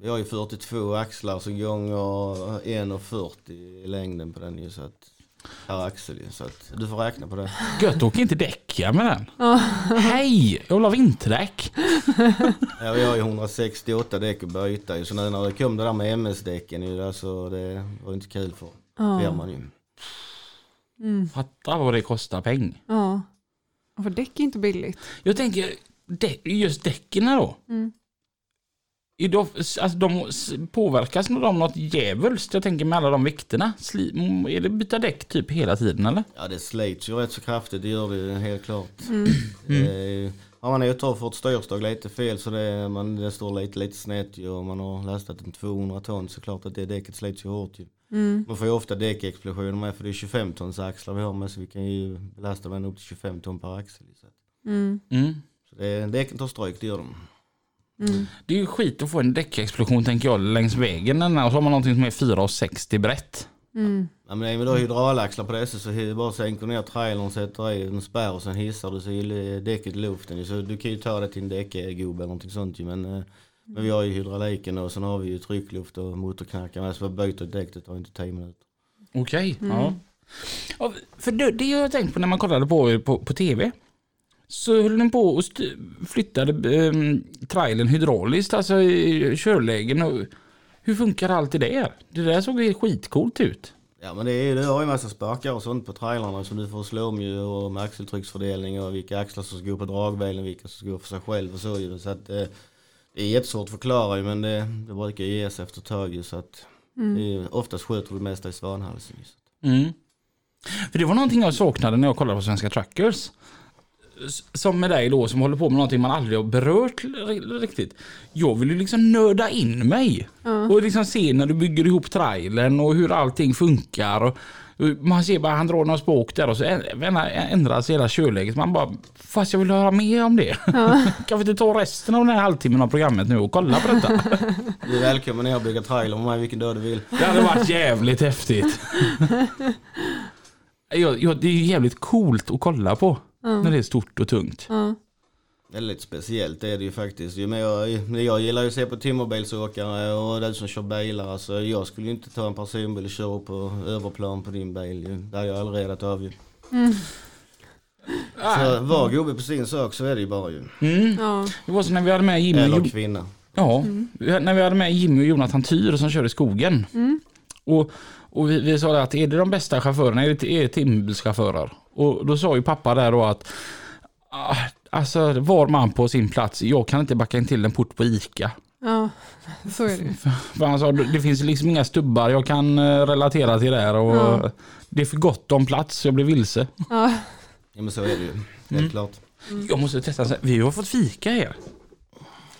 Vi har ju 42 axlar så gånger 1,40 i längden på den ju så att per axel ju så att du får räkna på det.
Gött, åker inte däcka med den. Hej, jag vill ha vinterdäck.
Ja, vi har ju 168 däck att byta ju så nu när det kom det där med MS-däcken ju alltså det var ju inte kul för firman ju.
Fatta vad det kostar pengar.
Ja. Ja, För däck är inte billigt.
Jag tänker dä- just däcken här då. Är det of- alltså de s- påverkas nog de något djävulskt? Jag tänker med alla de vikterna. Sli, m- är det byta däck typ hela tiden eller?
Ja det slits ju rätt så kraftigt det gör det ju helt klart. Eh, har man otur och fått styrstag lite fel så det, man, det står lite, lite snett ju och man har lastat en 200 ton så klart att det däcket slits ju hårt ju. Man får ju ofta däckexplosioner med för det är 25 tons axlar vi har med så vi kan ju belasta med upp till 25 ton per axel. Så, att-
Mm.
så det, däcken tar stryk, det gör de.
Det är ju skit att få en däckexplosion tänker jag längs vägen. eller? Och så har man någonting som är 4,60 brett.
Ja, men det är väl då hydraulaxlar på dessa så hy- bara sänker ner trailern, sätter i en spärr och sen hissar du så är ju däcket i luften. ju. Så du kan ju ta det till en däckgubbe eller någonting sånt ju. Men, eh, men vi har ju hydrauliken och sen har vi ju tryckluft och motorknackarna så vi byter däck, det tar inte 10 minuter.
Okej. Ja. Ja, För det, det jag tänkt på när man kollade på er på, på tv. Så höll ni på och st- flyttade um, trailern hydrauliskt, alltså i körlägen. Och, hur funkar allt det där? Det där såg ju skitcoolt ut.
Ja men det är ju, du har ju massa sparkar och sånt på trailarna som du får slå om ju och med axeltrycksfördelning och vilka axlar som ska gå på dragbilen, vilka som ska gå för sig själv och så ju. Så att eh, det är jättesvårt att förklara ju men det, det brukar ju ges efter ett tag ju så att det är ju, oftast sköter du det mesta i svanhalsen ju.
Mm. För det var någonting jag saknade när jag kollade på Svenska Truckers. S- Som med dig då som håller på med någonting man aldrig har berört r- riktigt. Jag vill ju liksom nörda in mig. Och liksom se när du bygger ihop trailern och hur allting funkar. Och Man ser bara han drar några spåk där och så ä- ändras hela körläget. Man bara, fast jag vill höra mer om det. kan vi inte ta resten av den här halvtimmen av programmet nu och kolla på detta?
Du är välkommen ner och bygga trailer med mig vilken dag du vill.
Det hade varit jävligt häftigt. ja, ja, det är ju jävligt coolt att kolla på när det är stort och tungt.
Väldigt speciellt är det ju faktiskt. Ju mer jag, jag gillar ju att se på timmerbilsåkare och den som kör bilar. Alltså, jag skulle ju inte ta en personbil och köra på överplan på din bil. ju. Det har jag aldrig redat av ju. Så var gubbe på sin sak så är det ju bara ju.
Ja.
Det var så när vi hade med Jimmy,
Eller
Jo-
kvinna.
ja, vi- när vi hade med Jimmy och Jonathan Tyr som körde i skogen. Och, och vi, vi sa det att är det de bästa chaufförerna? Är det är det timmerbilschaufförer? Och då sa ju pappa där då att ah, Alltså var man på sin plats, jag kan inte backa in till en port på Ica.
ja, så är det ju.
För han sa, det finns liksom inga stubbar jag kan eh, relatera till där och
Ja.
det är för gott om plats, jag blir vilse.
Ja.
Ja men så är det ju. Helt klart.
Jag måste testa, så här, vi har fått fika här.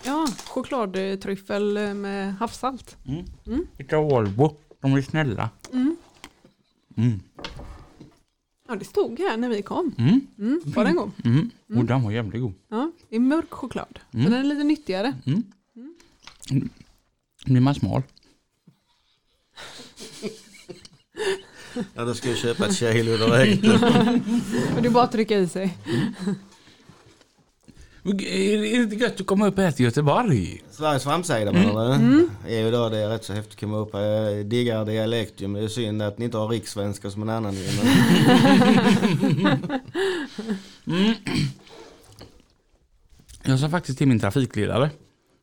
ja, chokladtryffel med havssalt.
Vilka Volvo, de är snälla.
Ja, det stod här när vi kom. Mm, var den god?
Mm. Och den var jävligt god.
Ja, det är mörk choklad. Så den är lite nyttigare.
Nu blir man smal.
Ja då ska jag köpa ett kilo direkt.
Men det är bara att trycka i sig.
Är det inte gött att komma upp här till Göteborg?
Sveriges framsida mm. eller? är ju då det är rätt så häftigt att komma upp. Jag diggar dialekt ju men det är synd att ni inte har rikssvenska som en annan ju. Men
Jag sa faktiskt till min trafikledare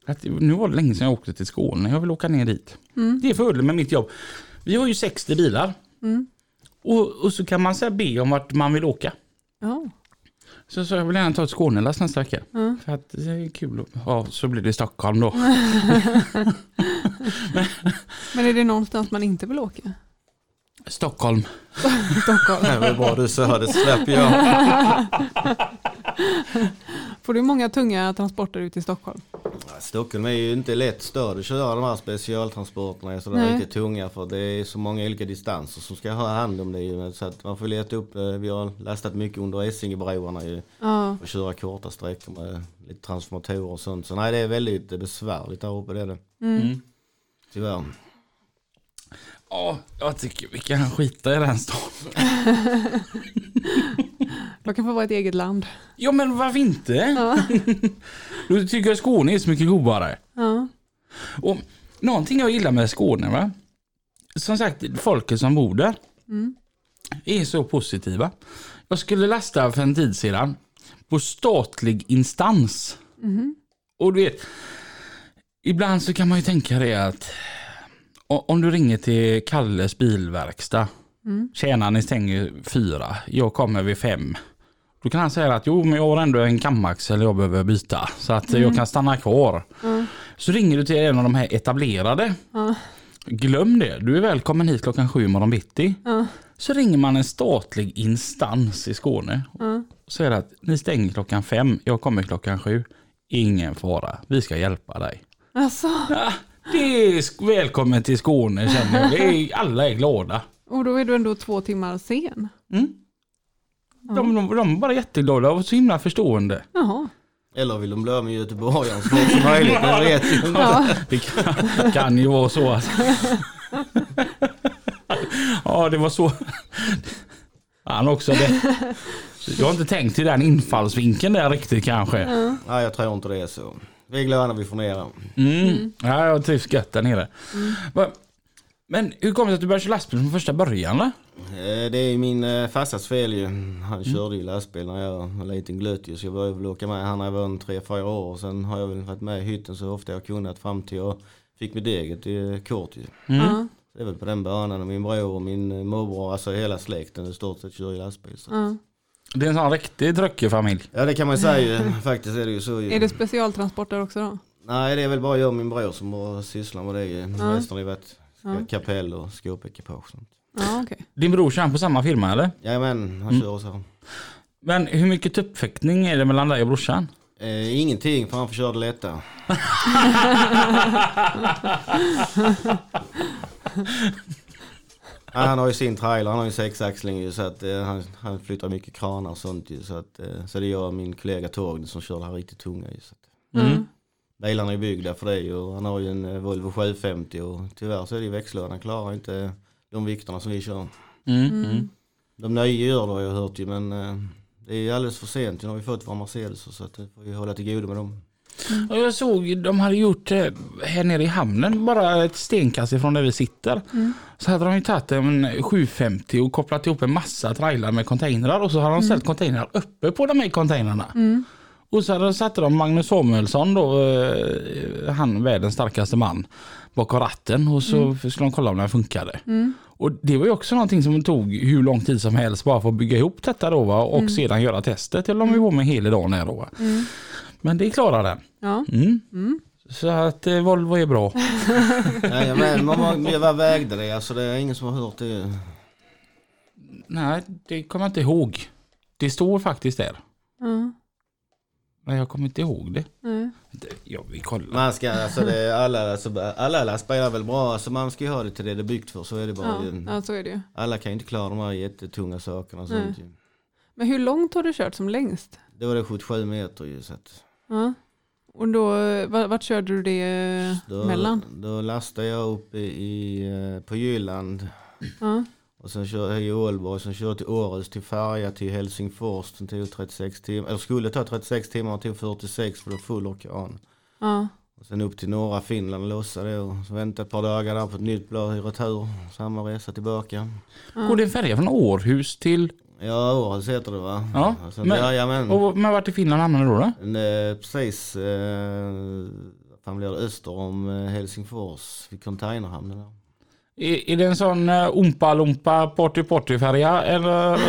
att nu var det länge sedan jag åkte till Skåne, jag vill åka ner dit. Det är fördelen med mitt jobb. Vi har ju 60 bilar. Och, och så kan man säga be om vart man vill åka.
Ja.
Så jag sa jag vill gärna ta ett Skånelass nästa vecka. För att det är kul. att- Ja, så blir det Stockholm då.
Men är det någonstans man inte vill åka?
Stockholm.
Stockholm.
det var bra du sa det släpper jag.
Får du många tunga transporter ut i Stockholm?
Stockholm är ju inte lätt stad att köra de här specialtransporterna är sådär riktigt tunga för det är så många olika distanser som ska ha hand om det ju. Så att man får leta upp, eh, vi har lastat mycket under Essingebroarna ju.
Ja.
Och köra korta sträckor med lite transformatorer och sånt. Så nej det är väldigt eh, besvärligt där uppe det är det. Tyvärr.
Ja, jag tycker vi kan skita i den staden.
De kan få vara ett eget land.
Ja, men varför inte? Då tycker jag Skåne är så mycket godare.
Ja.
Och någonting jag gillar med Skåne, va? som sagt, folket som bor där är så positiva. Jag skulle lasta för en tid sedan på statlig instans. Och du vet, ibland så kan man ju tänka det att o- om du ringer till Kalles bilverkstad. Tjena, ni stänger fyra. Jag kommer vid fem. Då kan han säga att jo, men jag har ändå en kamaxel jag behöver byta så att eh, jag kan stanna kvar. Så ringer du till en av de här etablerade. Glöm det, du är välkommen hit klockan sju imorgon bitti. Så ringer man en statlig instans i Skåne. Och säger att ni stänger klockan fem, jag kommer klockan sju. Ingen fara, vi ska hjälpa dig.
Alltså,
Ah, Det är sk- välkommen till Skåne känner jag. Det är, alla är glada.
och då är du ändå två timmar sen.
De, de, de är bara jätteglada och så himla förstående.
Jaha.
Eller vill de bli av med göteborgaren så fort som möjligt. Men jag vet ju inte.
Det kan, kan ju vara så att... Ja, det var så... Han också det. Jag har inte tänkt i den infallsvinkeln där riktigt kanske.
Nej jag tror inte det är så. Vi är glada när vi får ner dem.
Mm. Ja, jag trivs gött där nere. Va- Men hur kom det sig att du började köra lastbil från första början? va?
Eh, Det är ju min eh, farsas fel ju.
Mm.
Han körde ju lastbil när jag var liten glöt ju. Så jag började väl åka med han när jag var en tre, fyra år. Och sen har jag väl varit med i hytten så ofta jag kunnat fram till jag fick mitt eget eh, kort ju.
Ja.
Det är väl på den banan. Och Min bror och min eh, morbror, alltså hela släkten i stort sett kör ju lastbil. Så.
Ja.
Det är en sån riktig tröckerfamilj.
Ja det kan man säga ju. Faktiskt är det ju så ju.
Är det specialtransporter också då?
Nej det är väl bara jag och min bror som bara sysslar med det ju. Resten har ju varit kapell och skåpekipage och sånt.
Ja, okej.
Din bror kör han på samma firma eller?
Jajamän,
Mm.
han kör så.
Men hur mycket tuppfäktning är det mellan dig och brorsan?
Eh, ingenting för han får köra det lätta. Ja, han har ju sin trailer, han har ju sexaxling ju, så att eh, han, han flyttar mycket kranar och sånt ju. Så, att, eh, så det gör min kollega Torgny som kör det här riktigt tunga ju. Så att,
Mm.
bilarna är byggda för det ju och han har ju en eh, Volvo 750 och tyvärr så är det ju växellådan, han klarar inte de vikterna som vi kör.
Mm. Mm.
De nya gör det har jag hört ju men eh, det är ju alldeles för sent, nu har vi fått våra Mercedes så att vi får ju hålla till godo med dem.
Och jag såg ju, de hade gjort eh, här nere i hamnen, bara ett stenkast ifrån där vi sitter. Så hade de ju tagit en 750 och kopplat ihop en massa trailar med containrar och så hade de ställt containrar uppe på de här containrarna. Och så hade de satt de Magnus Samuelsson då, eh, han världens starkaste man, bakom ratten och så skulle de kolla om den funkade. Och det var ju också någonting som tog hur lång tid som helst bara för att bygga ihop detta då va? och sedan göra testet. Det höll de ju på med hela dagen här då. va? Men det klarade den.
Ja.
Mm. Så att eh, Volvo är bra.
Jajamän, man, man, jag var vägde det, alltså det är ingen som har hört det ju.
Nej, det kommer jag inte ihåg. Det står faktiskt där.
Ja.
Men jag kommer inte ihåg det.
Nej.
Det- Ja, vi kollar.
Man ska, alltså det är alla, alltså, alla lastbilar är väl bra, alltså man ska ju ha det till det det är byggt för, så är det bara
Ja.
ju.
ja, så är det ju.
Alla kan ju inte klara de här jättetunga sakerna och sånt ju.
Men hur långt har du kört som längst?
Då var det 77 meter ju så att
Ja. Och då, va- vart körde du det
då,
mellan?
då lastade jag upp i, i, eh, på Jylland
Ja.
och sen körde jag i Ålborg, sen körde jag till Århus, till Färja, till Helsingfors, sen tog 36 timmar, eller skulle ta 36 timmar, och tog 46 för det var full orkan.
Ja.
Och sen upp till norra Finland och lossade och så väntade ett par dagar där på ett nytt blad i retur, samma resa tillbaka.
Går det en färja från Århus till...
Ja, Århus heter det va?
Ja,
Och sen,
men-
ja, jajamän.
Och, men vart i Finland hamnar du då? då?
En, eh, precis, eh, fan blir det öster om eh, Helsingfors vid containerhamnen där.
Är, är det en sån eh, ompa-lompa party-party-färja eller?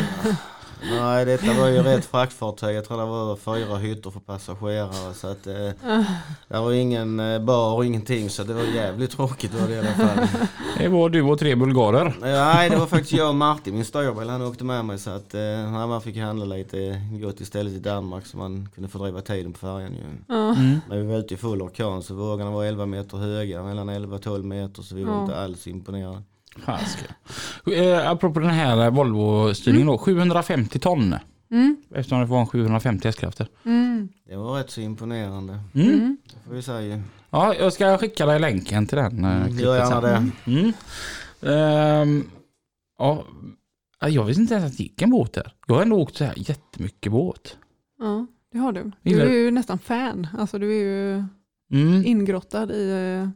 Nej, detta var ju rätt fraktfartyg. Jag tror det var fyra hytter för passagerare. Så att, eh, det var ingen eh, bar och ingenting så det var jävligt tråkigt var det i alla fall.
Det var du och tre bulgarer.
Nej, det var faktiskt jag och Martin, min styrbil, han åkte med mig så att eh, han- man fick handla lite gott istället i Danmark så man kunde fördriva tiden på färjan ju. När vi var ute i full orkan så vågorna var 11 meter höga, mellan 11 och 12 meter så vi var inte alls imponerade.
Fasiken. Eh, apropå den här Volvo-styrningen då, 750 ton. Eftersom det var en 750 hästkrafter.
Mm.
Det var rätt så imponerande. Det får vi säga.
Ja, jag ska skicka dig länken till den. eh, klippet
Gör gärna
sen.
det.
Mm. Ehm, ja, jag visste inte ens att det gick en båt där. Jag har ändå åkt så här jättemycket båt.
ja, det har du. Du
Gillar
är
du?
ju nästan fan. Alltså du är ju
Mm.
ingrottad i eh,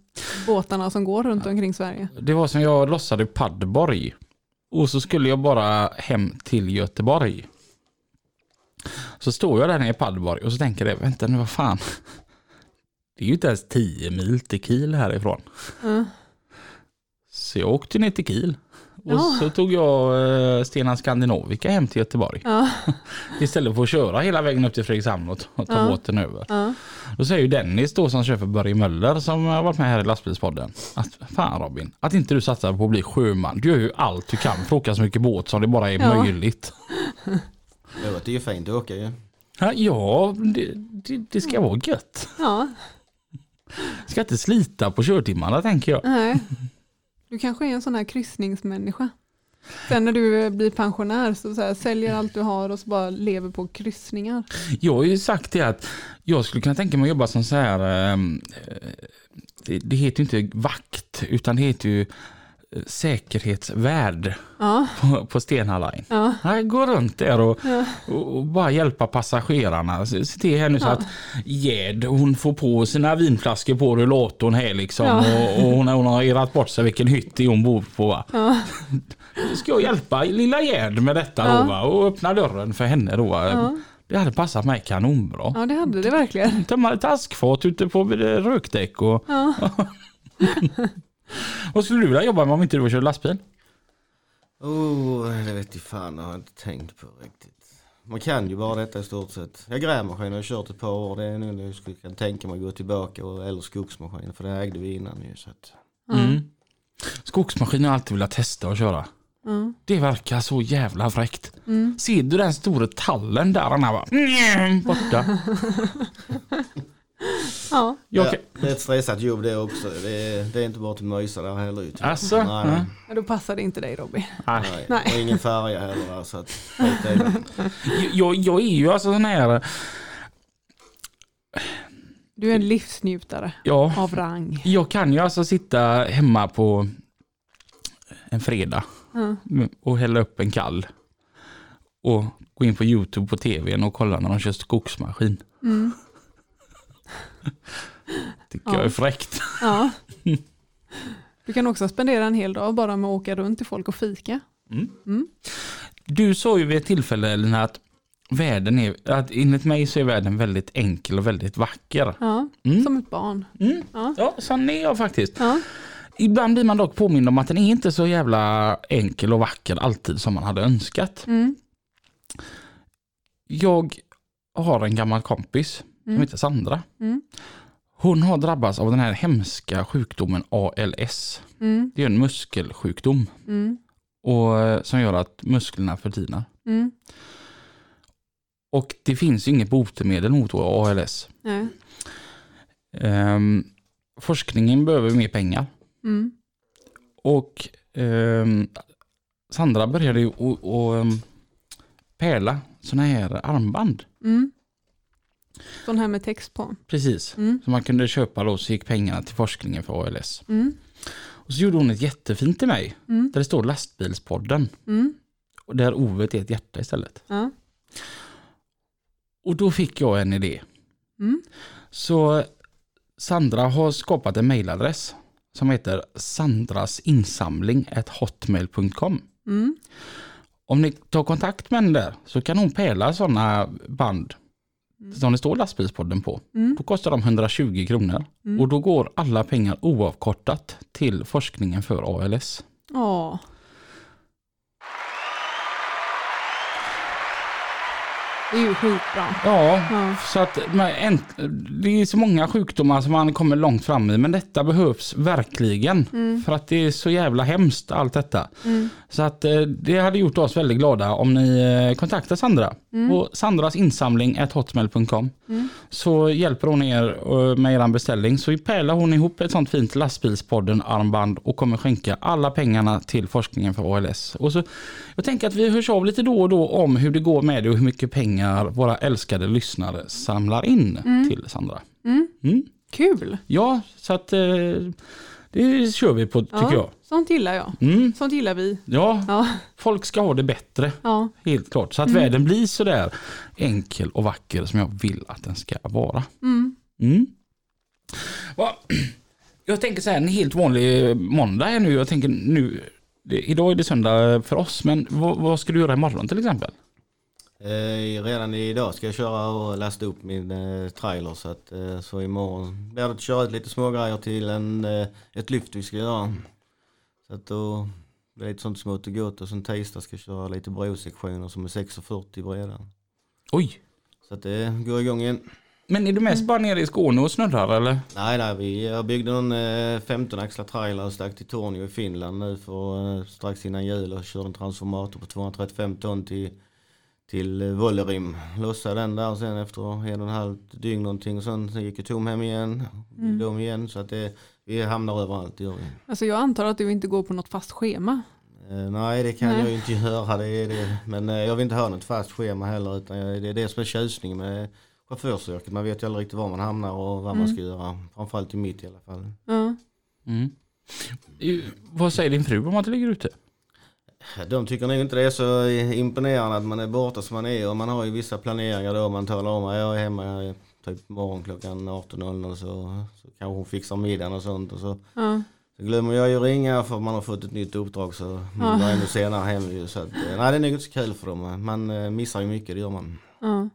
båtarna som går runt omkring Sverige.
Det var som jag lossade i Padborg. Och så skulle jag bara hem till Göteborg. Så står jag där nere i Padborg och så tänker jag, vänta nu vad fan. Det är ju inte ens 10 mil till Kiel härifrån.
Ja.
Så jag åkte ner till Kiel. Och
Ja.
så tog jag eh, Stena Skandinavica hem till Göteborg.
Ja.
Istället för att köra hela vägen upp till Fredrikshamn och ta- och ta
Ja.
båten över.
Ja.
Då säger ju Dennis då som köper Börje Möller som har varit med här i lastbilspodden. Att fan Robin, att inte du satsar på att bli sjöman. Du gör ju allt du kan för att åka så mycket båt som det bara är
Ja.
möjligt.
Det låter ju fint att åka ju.
Ja, Ja, det, det, det ska vara gött.
ja,
Ska inte slita på körtimmarna tänker jag.
nej. Du kanske är en sån här kryssningsmänniska. Sen när du eh, blir pensionär så, så här, säljer allt du har och så bara lever på kryssningar.
Jag har ju sagt det att jag skulle kunna tänka mig att jobba som så här. ehm, eh, det, det heter ju inte vakt utan det heter ju eh, säkerhetsvärd
Ja,
på, på Stena Line.
ja,
Nej, gå runt där och,
Ja.
och, och bara hjälpa passagerarna. Se se till här nu så
Ja.
att Gerd hon får på sina vinflaskor på rullatorn här liksom.
Ja.
Och, och hon, hon har irrat bort sig vilken hytt det är hon bor på. Va?
ja,
Då Ska jag hjälpa lilla Gerd med detta
Ja.
då va? och öppna dörren för henne då. va?
Ja.
Det hade passat mig kanonbra.
ja, det hade det verkligen.
Tömma ett askfat ute på eh, rökdäck och...
Ja.
Vad skulle du vilja jobba med om inte du kör lastbil?
Oh, det vet jag fan, det har jag inte tänkt på riktigt. Man kan ju bara detta i stort sett. Jag grävmaskin har jag kört ett par år. Det är nu när jag skulle kunna tänka mig att gå tillbaka. och- Eller skogsmaskin, för det ägde vi innan ju. Så att.
Mm. Skogsmaskin har jag alltid velat testa och köra.
Ja. Mm.
Det verkar så jävla fräckt. Ser du den stora tallen där? Han är bara, "Njem", borta.
Ja.
Jag
Ja,
kan-
det är ett stressat jobb det också. Det är, det är inte bara till mysa där heller. ju, tycker jag.
Asså?
Nej,
Ja.
Ja, Då passade inte dig Robin.
Alltså, Nej.
nej.
Nej.
Och ingen färja heller. där, Så att, skit i det.
jag, jag är ju alltså sån här,
Du är en livsnjutare
ja.
av rang.
Jag kan ju alltså sitta hemma på en fredag
Mm.
och hälla upp en kall. Och gå in på YouTube på tvn och kolla när de kör skogsmaskin.
Mm.
Tycker jag är fräckt.
Ja. Du kan också spendera en hel dag bara med att åka runt till folk och fika.
Du sa ju vid ett tillfälle Elina att världen är, att enligt mig så är världen väldigt enkel och väldigt vacker.
Ja. Som ett barn.
Ja, sån är jag faktiskt.
Ja.
Ibland blir man dock påmind om att den är inte så jävla enkel och vacker alltid som man hade önskat.
Mm.
Jag har en gammal kompis som heter Sandra.
Mm.
Hon har drabbats av den här hemska sjukdomen ALS.
Mm.
Det är en muskelsjukdom
Mm.
och, eh, som gör att musklerna förtinar.
Mm.
Och det finns ju inget botemedel mot ALS.
Nej.
Ehm, forskningen behöver mer pengar.
Mm.
Och ehm, Sandra började ju att- att ehm, pärla sådana här armband.
Mm. Sån här med text på.
Precis.
Mm.
Som man kunde köpa då så gick pengarna till forskningen för ALS.
Mm.
Och så gjorde hon ett jättefint till mig.
Mm.
Där det står lastbilspodden.
Mm.
Och där ovet är ett hjärta istället.
Ja.
Och då fick jag en idé.
Mm.
Så Sandra har skapat en mailadress som heter sandrasinsamling@hotmail.com.
Mm.
Om ni tar kontakt med henne där så kan hon pärla sådana band
Mm.
som det står lastbilspodden på. Då kostar de 120 kronor och då går alla pengar oavkortat till forskningen för ALS.
Åh. Det är ju skitbra.
Ja,
Ja.
så att men, en, det är så många sjukdomar som man kommer långt fram i men detta behövs verkligen för att det är så jävla hemskt allt detta. Så att eh, det hade gjort oss väldigt glada om ni eh, kontaktar Sandra på sandrasinsamling@hotmail.com så hjälper hon er eh, med er beställning så pärlar hon ihop ett sånt fint lastbilspodden armband och kommer skänka alla pengarna till forskningen för ALS. Och så, jag tänker att vi hörs av lite då och då om hur det går med det och hur mycket pengar våra älskade lyssnare samlar in till Sandra.
Kul.
Ja, så att eh, det kör vi på tycker
Ja,
jag.
Sånt gillar jag.
Mm.
Sånt gillar vi.
Ja,
Ja.
folk ska ha det bättre.
Ja.
Helt klart. Så att världen blir så där enkel och vacker som jag vill att den ska vara. Mm. Va- Jag tänker så här, en helt vanlig måndag är nu. Jag tänker nu, det- idag är det söndag för oss, men vad, vad ska du göra imorgon till exempel?
Eh, redan idag ska jag köra och lasta upp min eh, trailer så att eh, så imorgon blir det att köra ut lite smågrejer till en, eh, ett lyft vi ska göra. Så att då blir det lite sånt smått och gott och sen tisdag ska jag köra lite brosektioner som är 6,40 breda.
Oj,
Så att det går igång igen.
men är du mest bara nere i Skåne och snurrar eller?
Nej, nej, vi, jag byggde någon eh, 15 axlar trailer och stack till Tornio i Finland nu för eh, strax innan jul och körde en transformator på 235 ton till, till eh, Vollerim. Lossade den där och sen efter en och en halv dygn någonting och sen gick jag tom hem igen. Mm. Om igen så att det, vi hamnar överallt det gör vi.
Alltså jag antar att du inte går på något fast schema.
Eh, nej, det kan
Nej.
jag ju inte göra. Det är det. Men eh, jag vill inte ha något fast schema heller utan jag, det är det som är tjusningen med chaufförsyrket. Man vet ju aldrig riktigt var man hamnar och vad man ska göra. Framförallt i mitt i alla fall.
Ja.
Eh, Vad säger din fru om att du ligger ute?
De tycker nog inte det är så imponerande att man är borta som man är och man har ju vissa planeringar då man talar om att jag är hemma typ morgon klockan 18.00 så, så kanske hon fixar middagen och sånt och så,
Ja.
så glömmer jag ju ringa för man har fått ett nytt uppdrag så man går ännu senare hem ju så att, eh, nej det är nog inte så kul för dem. Man eh, missar ju mycket, det gör man.
Ja.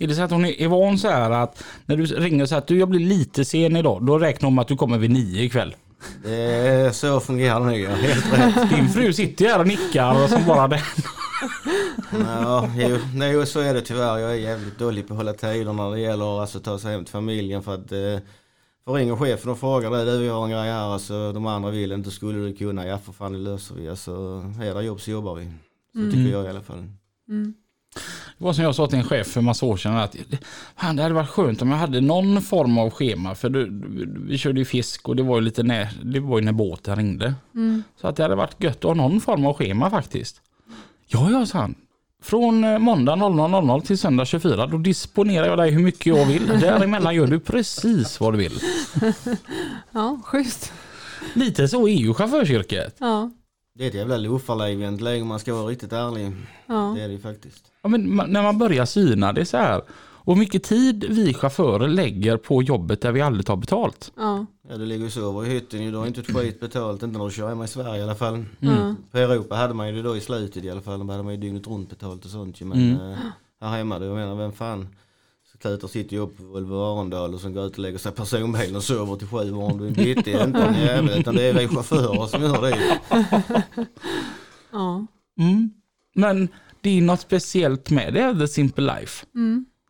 Är det så att hon är är van så här att när du ringer så här att du jag blir lite sen idag, då räknar hon med att du kommer vid nio ikväll?
Det är, så fungerar det nog, ja. helt rätt.
Din fru sitter ju här och nickar och så bara det.
Ja, jo, nej, så är det tyvärr. Jag är jävligt dålig på att hålla tider när det gäller alltså, att ta sig hem till familjen. För att eh, för ringer chefen och frågar dig, du vi har en grej här, alltså, de andra vill inte, skulle du kunna? Ja för fan det löser vi. Alltså, är det jobb så jobbar vi. Så tycker jag i alla fall.
Det var som jag sa till en chef för massa år sedan att fan, det hade varit skönt om jag hade någon form av schema för du, du- vi körde ju fisk och det var ju lite när, det var ju när båten ringde. Så att det hade varit gött att ha någon form av schema faktiskt. Ja, ja, sa han. Från eh, måndag 00.00 till söndag 24, då disponerar jag dig hur mycket jag vill. Däremellan gör du precis vad du vill.
Ja, schysst.
Lite så är ju chaufförsyrket.
Ja,
Det är ett jävla loofarliv egentligen om man ska vara riktigt ärlig.
ja.
Det är det ju faktiskt.
Ja, men man- när man börjar syna det så här. Och hur mycket tid vi chaufförer lägger på jobbet där vi aldrig tar betalt.
ja.
Ja, du ligger och sover i hytten ju. Du har inte ett skit betalt. Inte när du kör hemma i Sverige i alla fall. Mm.
Ja.
På Europa hade man ju det då i slutet i alla fall. Då hade man ju dygnet runt betalt och sånt ju. Men eh, här hemma, du jag menar vem fan slutar sitt jobb på Volvo Arendal och sen går ut och lägger sig i personbilen och sover till sju om du inte hittar inte en jävel. Utan det är vi chaufförer som gör det ju.
ja.
Mm. Men det är något speciellt med det, the simple life.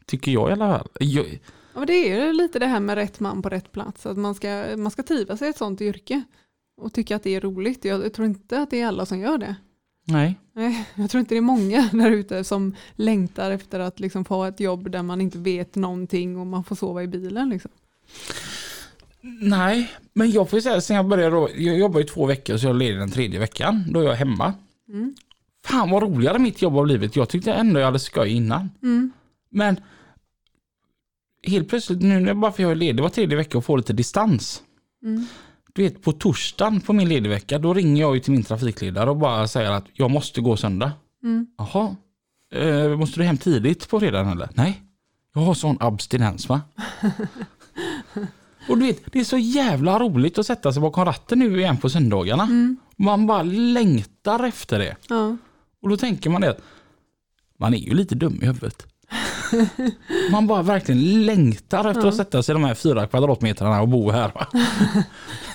Tycker jag i alla fall. Jag,
Ja, men det är ju lite det här med rätt man på rätt plats. Att man ska, man ska trivas i ett sånt yrke och tycka att det är roligt. Jag tror inte att det är alla som gör det.
nej.
Nej, jag tror inte det är många där ute som längtar efter att liksom få ha ett jobb där man inte vet någonting och man får sova i bilen. Liksom.
Nej, men jag får säga sen jag började då, jag jobbar ju två veckor så jag är ledig den tredje veckan. Då är jag hemma. Fan vad roligare mitt jobb har blivit. Jag tyckte ändå jag hade skoj innan. Men helt plötsligt nu när jag bara för jag är ledig var tredje vecka och får lite distans. Du vet på torsdagen på min ledigvecka då ringer jag ju till min trafikledare och bara säger att jag måste gå söndag. Jaha, eh, måste du hem tidigt på fredagen eller? Nej, jag har sån abstinens va? Och du vet, det är så jävla roligt att sätta sig bakom ratten nu igen på söndagarna. Man bara längtar efter det.
Ja,
Och då tänker man det att man är ju lite dum i huvudet. man bara verkligen längtar efter att sätta sig i de här fyra kvadratmetrarna och bo här. Va?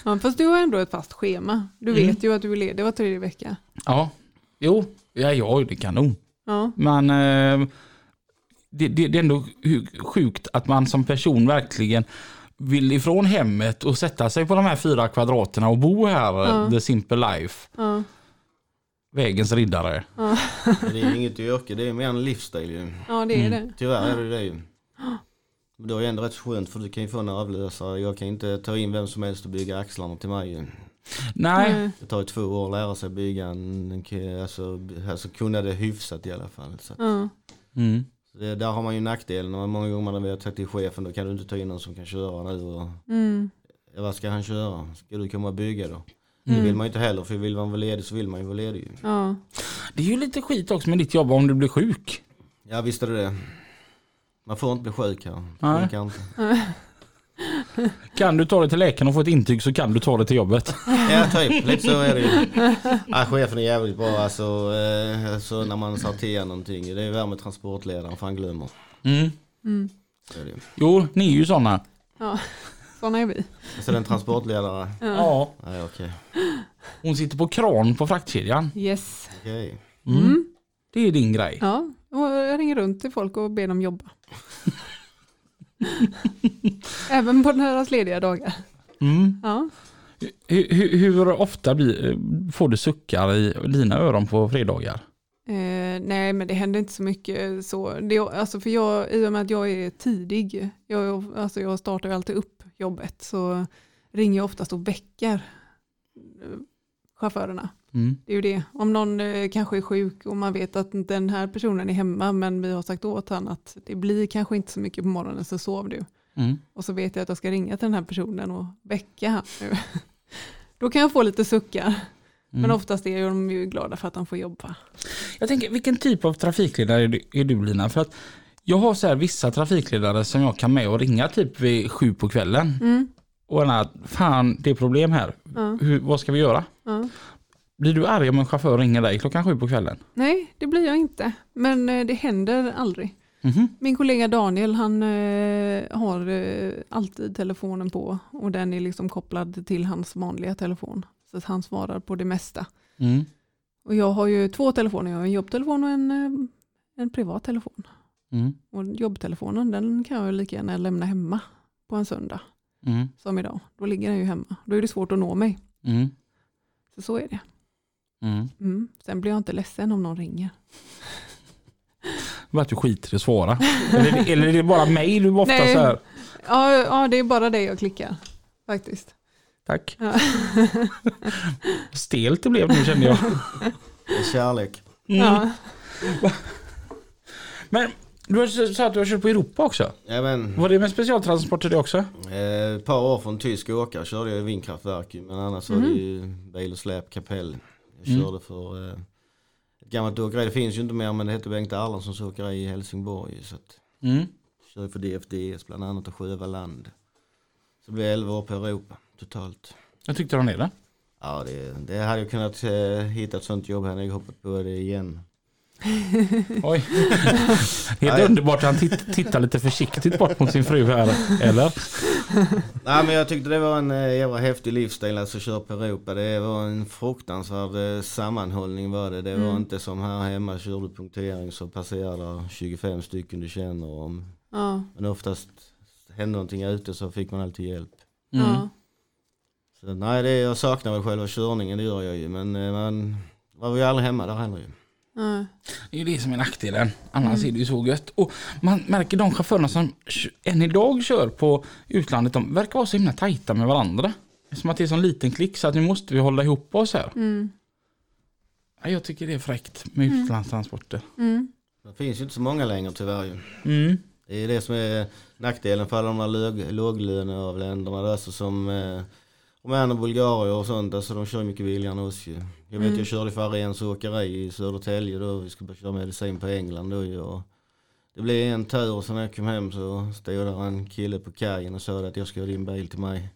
ja fast du har ändå ett fast schema. Du
Mm.
vet ju att du är ledig var tredje vecka.
Ja, jo, ja, ja det är kanon.
Ja,
Men eh, det, det, det är ändå hu- sjukt att man som person verkligen vill ifrån hemmet och sätta sig på de här fyra kvadraterna och bo här, the simple life.
ja,
Vägens riddare.
Det är ju inget yrke, det är mer en livsstil ju.
ja det är
Mm.
det.
Tyvärr är det det ju. Men då är det ändå rätt skönt för du kan ju få en avlösare. Jag kan inte ta in vem som helst och bygga axlarna till mig ju.
Nej,
Nej.
Det tar ju två år att lära sig bygga en, en ke- alltså, alltså kunna det hyfsat i alla fall. Så att,
Ja,
Mm.
det, där har man ju nackdelen. Och Många gånger när vi har sagt till chefen då kan du inte ta in någon som kan köra nu. Och,
mm,
ja, vad ska han köra? Ska du komma och bygga då?
Mm.
Det vill man ju inte heller för vill man vara ledig så vill man ju vara ledig. ju.
ja,
det är ju lite skit också med ditt jobb om du blir sjuk.
Ja visst är det det. Man får inte bli sjuk här.
Nej.
Det funkar inte.
Kan du ta dig till läkaren och få ett intyg så kan du ta dig till jobbet.
Ja typ, lite så är det ju. Ja, chefen är jävligt bra alltså, eh, alltså när man sa till någonting. Det är värre med transportledaren för han glömmer.
Mm.
Så är det ju.
Jo, ni är ju sådana.
ja. Sådana är vi.
Så Alltså, den transportledare.
Ja.
Nej okej.
Hon sitter på kran på fraktkedjan.
Yes.
Okej.
Det är din grej.
Ja, och jag ringer runt till folk och ber dem jobba. Även på deras lediga dagar.
Mm.
Ja.
Hur, hur, hur ofta blir, får du suckar i dina öron på fredagar?
Eh, nej, men det händer inte så mycket så. Det, alltså för jag, I och med att jag är tidig, jag, alltså jag startar ju alltid upp jobbet, så ringer jag oftast och väcker eh, chaufförerna.
Mm.
Det är ju det. Om någon eh, kanske är sjuk och man vet att den här personen är hemma, men vi har sagt åt honom att det blir kanske inte så mycket på morgonen, så sov du.
Mm.
Och så vet jag att jag ska ringa till den här personen och väcka han nu. Då kan jag få lite suckar. Men oftast är de ju glada för att de får jobba.
Jag tänker, vilken typ av trafikledare är du, är du Lina? För att jag har så här vissa trafikledare som jag kan med och ringa typ vid sju på kvällen.
Mm.
Och den här, fan det är problem här. Hur, vad ska vi göra?
Ja.
Blir du arg om en chaufför ringer dig klockan sju på kvällen?
Nej, det blir jag inte. Men eh, det händer aldrig.
Mhm.
Min kollega Daniel han eh, har eh, alltid telefonen på och den är liksom kopplad till hans vanliga telefon. Så att han svarar på det mesta.
Mm.
Och jag har ju två telefoner, jag har en jobbtelefon och en, eh, en privat telefon.
Mm.
Och jobbtelefonen den kan jag ju lika gärna lämna hemma på en söndag
Mm.
som idag. Då ligger den ju hemma. Då är det svårt att nå mig.
Mm.
Så så är det.
Mm.
Mm. Sen blir jag inte ledsen om någon ringer.
vart du skiter i att svara. eller, eller är det bara mig du ofta
Nej.
så här?
Ja, ja, det är bara det jag klickar faktiskt.
Tack.
Ja.
Stelt det blev nu kände jag.
Det är kärlek.
Ja.
Men du har sagt att du har kört på Europa också.
Även
Var det med specialtransporter det också?
eh, ett par år från tysk åkare körde jag vindkraftverk ju, men annars var det ju bil och släp, kapell. Jag körde för eh, ett gammalt åkeri, det finns ju inte mer men det hette Bengt Erlandssons åkeri i Helsingborg. ju, Så att,
Mm.
körde för DFDS bland annat och Sjövaland. Så blev jag 11 år på Europa totalt.
Jag tyckte de är det.
Ja, det, det hade jag kunnat eh, hitta ett sånt jobb hade jag hoppat på det igen.
Oj. Helt underbart. Han titt, tittar lite försiktigt bort mot sin fru här. Eller?
Nej men jag tyckte det var en eh, jävla häftig livsstil alltså att köra på Europa. Det var en fruktansvärd eh, sammanhållning var det. Det var inte som här hemma kör du punktering så passerar där 25 stycken du känner. Och,
Ja.
men oftast hände någonting ute så fick man alltid hjälp.
Ja.
Så, nej det, jag saknar väl själva körningen det gör jag ju men eh, man var ju aldrig hemma där heller ju.
Ja.
Det är ju det som är nackdelen. Annars är det ju så gött. Och man märker de chaufförerna som kö- än idag kör på utlandet, de verkar vara så himla tajta med varandra. Som att det är en sån liten klick så att nu måste vi hålla ihop oss här. Ja, Jag tycker det är fräckt med utlandstransporter.
Det finns ju inte så många längre tyvärr ju.
Mm.
Det är det som är nackdelen för alla de här låg, låglöneavländerna där, alltså som eh, Rumänien och Bulgarien och sånt. Alltså de kör mycket billigare än oss ju. Jag vet jag körde för Arens åkeri i Södertälje då. Vi skulle bara köra medicin på England då ju. Och det blev en tur och sen när jag kom hem så stod där en kille på kajen och sa att jag ska ha din bil till mig.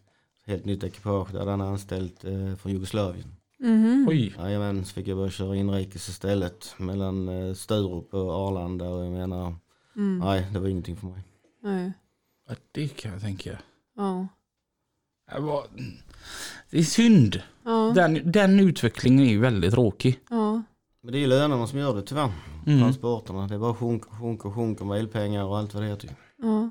Helt nytt ekipage. Det hade han anställt eh, från Jugoslavien.
Mm.
Oj.
Jajamän, så fick jag börja köra inrikes istället mellan eh, Sturup och Arlanda och jag menar,
Mm.
nej det var ingenting för mig.
Nej.
Ja, Det kan jag tänka.
Ja.
Det var- Det är synd.
Ja.
Den, den utvecklingen är ju väldigt tråkig.
Ja.
Men det är ju lönerna som gör det tyvärr,
Mm.
transporterna. Det bara sjunker, sjunker, sjunker med elpengar och allt vad det typ. heter. ju.
Ja.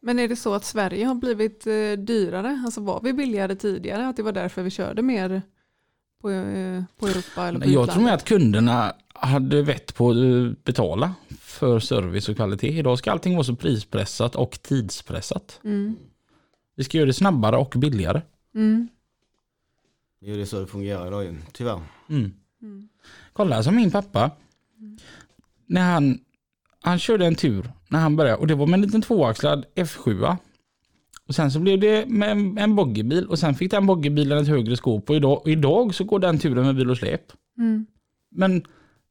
Men är det så att Sverige har blivit eh, dyrare? Alltså var vi billigare tidigare? Att det var därför vi körde mer på, eh, på Europa eller på
Jag tror
utlandet?
mer att kunderna hade vett på att betala för service och kvalitet. Idag ska allting vara så prispressat och tidspressat.
Mm.
Vi ska göra det snabbare och billigare.
Mm.
Det är ju det så det fungerar idag ju, tyvärr.
Mm. Kolla som min pappa. När han, han körde en tur när han började och det var med en liten tvåaxlad F7. Och sen så blev det med en, en bogeybil och sen fick den bogeybilen ett högre skåp och idag, och idag så går den turen med bil och släp.
Mm.
Men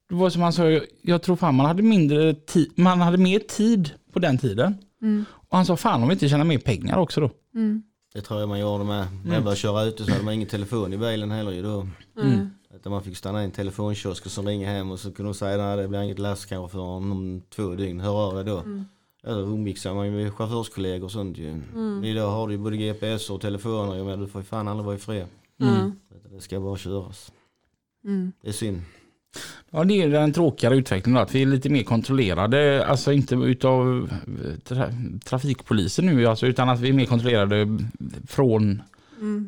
det var som han sa, jag, jag tror fan man hade mindre tid, man hade mer tid på den tiden.
Mm.
Och han sa fan om vi inte tjänar mer pengar också då.
Mm.
Det tror jag man gjorde med. När jag började köra ute så hade man ingen telefon i bilen heller ju då.
Mm.
Utan man fick stanna i en telefonkiosk och så ringa hem och så kunde de säga att det blir inget last kanske förrän om två dygn. Hör av dig då. Ja, då umgicksar man ju med chaufförskollegor och sånt ju. Men idag har du ju både GPS och telefoner. Jag menar du får ju fan aldrig vara ifred.
Mm.
Ja.
Det ska bara köras.
Mm.
Det är synd.
Ja det är den tråkigare utvecklingen då, att vi är lite mer kontrollerade, alltså inte utav tra trafikpolisen nu alltså, utan att vi är mer kontrollerade från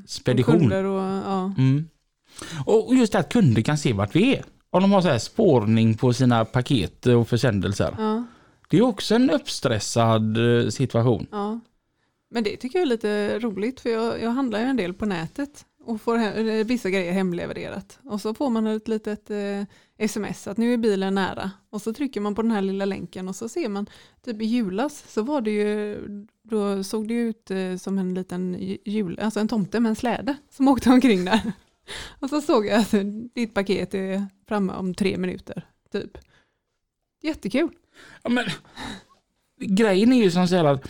spedition.
Mm. Kunder och, ja.
Mm. Och just det att kunder kan se vart vi är. Om de har så här spårning på sina paket och försändelser.
Ja.
Det är också en uppstressad eh, situation.
Ja. Men det tycker jag är lite roligt för jag, jag handlar ju en del på nätet och får he- eh, vissa grejer hemlevererat. Och så får man ett litet eh, sms att nu är bilen nära. Och så trycker man på den här lilla länken och så ser man, typ i julas så var det ju, då såg det ju ut eh, som en liten ju- jul, alltså en tomte med en släde som åkte omkring där. Och så såg jag att ditt paket är framme om tre minuter, typ. Jättekul.
Ja, men, grejen är ju som så här att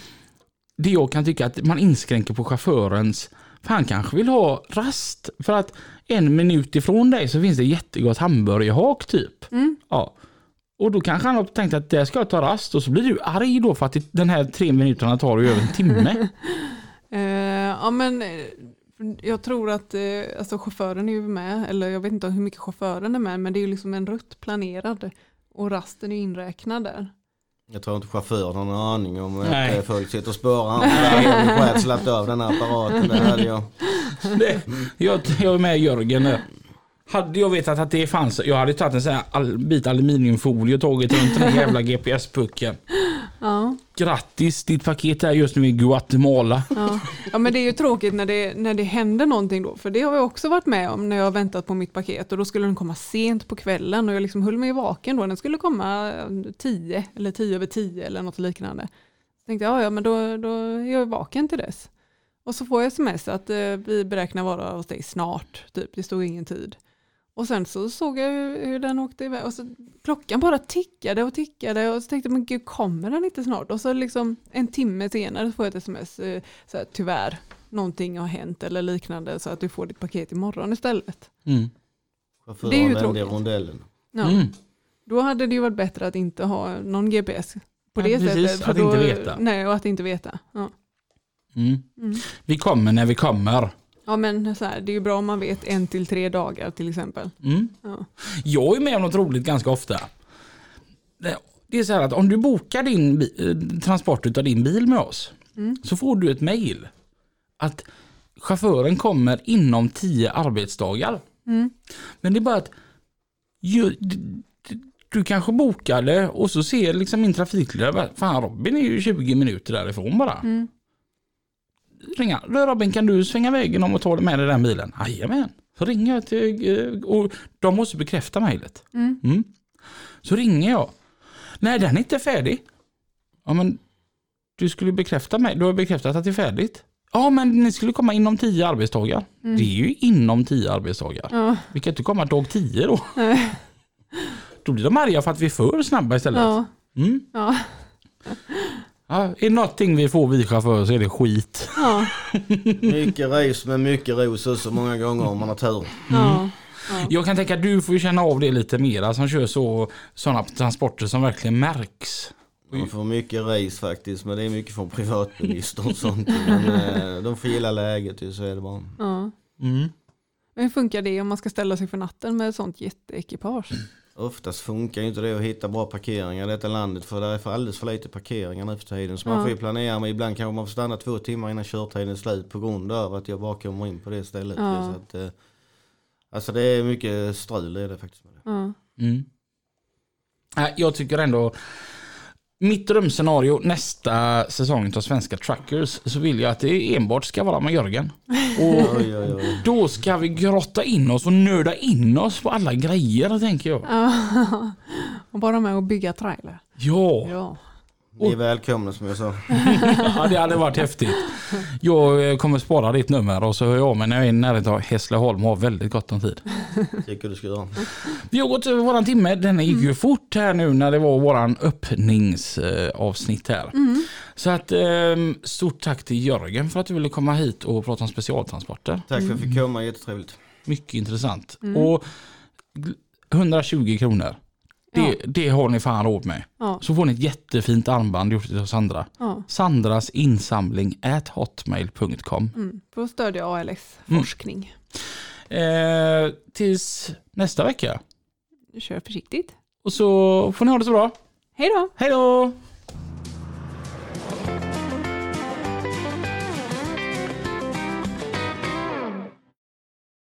det jag kan tycka att man inskränker på chaufförens för han kanske vill ha rast för att en minut ifrån dig så finns det jättegott hamburgerhak typ.
Mm.
Ja. Och då kanske han har tänkt att där ska jag ta rast och så blir du arg då för att det- den här tre minuterna tar ju över en timme.
Eh, ja, men eh, jag tror att eh, alltså, chauffören är ju med, eller jag vet inte hur mycket chauffören är med, men det är ju liksom en rutt planerad och rasten är inräknad där.
Jag tror inte chauffören har någon aning om
Nej.
att eh, folk sitter och spårar honom. Jag hade själv slagit av den här apparaten. Det hade jag.
Det, jag, jag är med Jörgen där. Hade jag vetat att det fanns, jag hade tagit en sån här al- bit aluminiumfolie och tagit runt den här jävla GPS-pucken.
Ja.
Grattis, ditt paket är just nu i Guatemala.
Ja. ja men det är ju tråkigt när det, när det händer någonting då. För det har jag också varit med om när jag har väntat på mitt paket. Och då skulle den komma sent på kvällen. Och jag liksom höll mig vaken då. Den skulle komma eh, 10 eller 10 över 10 eller något liknande. Så tänkte jag, ja, ja men då, då är jag vaken till dess. Och så får jag sms att eh, vi beräknar vara hos dig snart. Typ. Det stod ingen tid. Och sen så såg jag hur, hur den åkte iväg. Och så, klockan bara tickade och tickade. Och så tänkte jag, men gud kommer den inte snart? Och så liksom en timme senare så får jag ett sms. eh, Så här, Tyvärr, någonting har hänt eller liknande. Så att du får ditt paket imorgon istället.
Mm.
Det är ju
Chauffören vände i
tråkigt.
rondellen.
Ja.
Mm.
Då hade det ju varit bättre att inte ha någon GPS. På
Ja,
det
precis.
sättet. för
Att
då,
inte veta.
Nej, och att inte veta. Ja.
Mm.
Mm.
Vi kommer när vi kommer.
Ja men så här, det är ju bra om man vet en till tre dagar till exempel.
Mm.
Ja.
Jag är med om något roligt ganska ofta. Det- Det är så här att om du bokar din bi- eh, transport utav din bil med oss så får du ett mejl att chauffören kommer inom 10 arbetsdagar. Men det är bara att ju, d- d- du kanske bokade och så ser liksom min trafikledare, fan Robin är ju 20 minuter därifrån bara. Ringa, "Du, Robin kan du svänga vägen om och ta med dig den bilen? Jajamän. Så ringer jag till, eh, och de måste bekräfta mejlet. Mm. Så ringer jag. Nej den är inte färdig. Ja men du skulle ju bekräfta mig, du har bekräftat att det är färdigt. Ja men ni skulle komma inom 10 arbetsdagar. Det är ju inom 10 arbetsdagar.
Mm. Ja.
Vi kan inte komma dag 10 då. då blir de arga för att vi är för snabba istället.
Ja.
Mm.
Ja.
Ja, är det någonting vi får vi chaufförer så är det skit.
Ja.
Mycket race men mycket ros också många gånger om man har tur.
Mm.
Ja.
Jag kan tänka att du får ju känna av det lite mera som kör så, sådana transporter som verkligen märks.
Man får mycket race faktiskt men det är mycket från privatbilister och sånt. Men eh, de får gilla läget ju så är det bara.
Ja.
Mm.
Men hur funkar det om man ska ställa sig för natten med ett sånt jätteekipage?
Mm.
Oftast funkar ju inte det att hitta bra parkeringar i detta landet för det är för alldeles för lite parkeringar nu för tiden. Så man får ju planera men ibland kanske man får stanna två timmar innan körtiden är slut på grund av att jag bara kommer in på det stället.
Ja.
Så att, eh, alltså det är mycket strul är det faktiskt. Med det.
Ja.
Mm. Nej, Jag tycker ändå mitt drömscenario nästa säsong av Svenska Truckers så vill jag att det enbart ska vara med Jörgen. Och
Oj, oj, oj.
då ska vi grotta in oss och nörda in oss på alla grejer tänker jag.
Ja. Och bara med och bygga trailer.
Ja.
Ja.
Ni är välkomna som jag sa.
Ja, det hade varit häftigt. Jag eh, kommer spara ditt nummer och så hör jag av mig när jag är i närheten av Hässleholm och har väldigt gott om tid.
Tycker du ska göra.
Vi har gått över våran timme. Den gick ju fort här nu när det var våran öppningsavsnitt här. Så att ehm, stort tack till Jörgen för att du ville komma hit och prata om specialtransporter.
Tack för att jag fick komma, jättetrevligt.
Mycket intressant. Och gl- 120 kronor. Det, det har ni fan råd med.
Ja.
Så får ni ett jättefint armband gjort av Sandra.
Ja.
Sandras insamling at hotmail.com.
Mm. Då stödjer jag ALS
Mm.
forskning.
Eh, tills nästa vecka.
Kör försiktigt.
Och så får ni ha det så bra.
Hej då!
Hej då!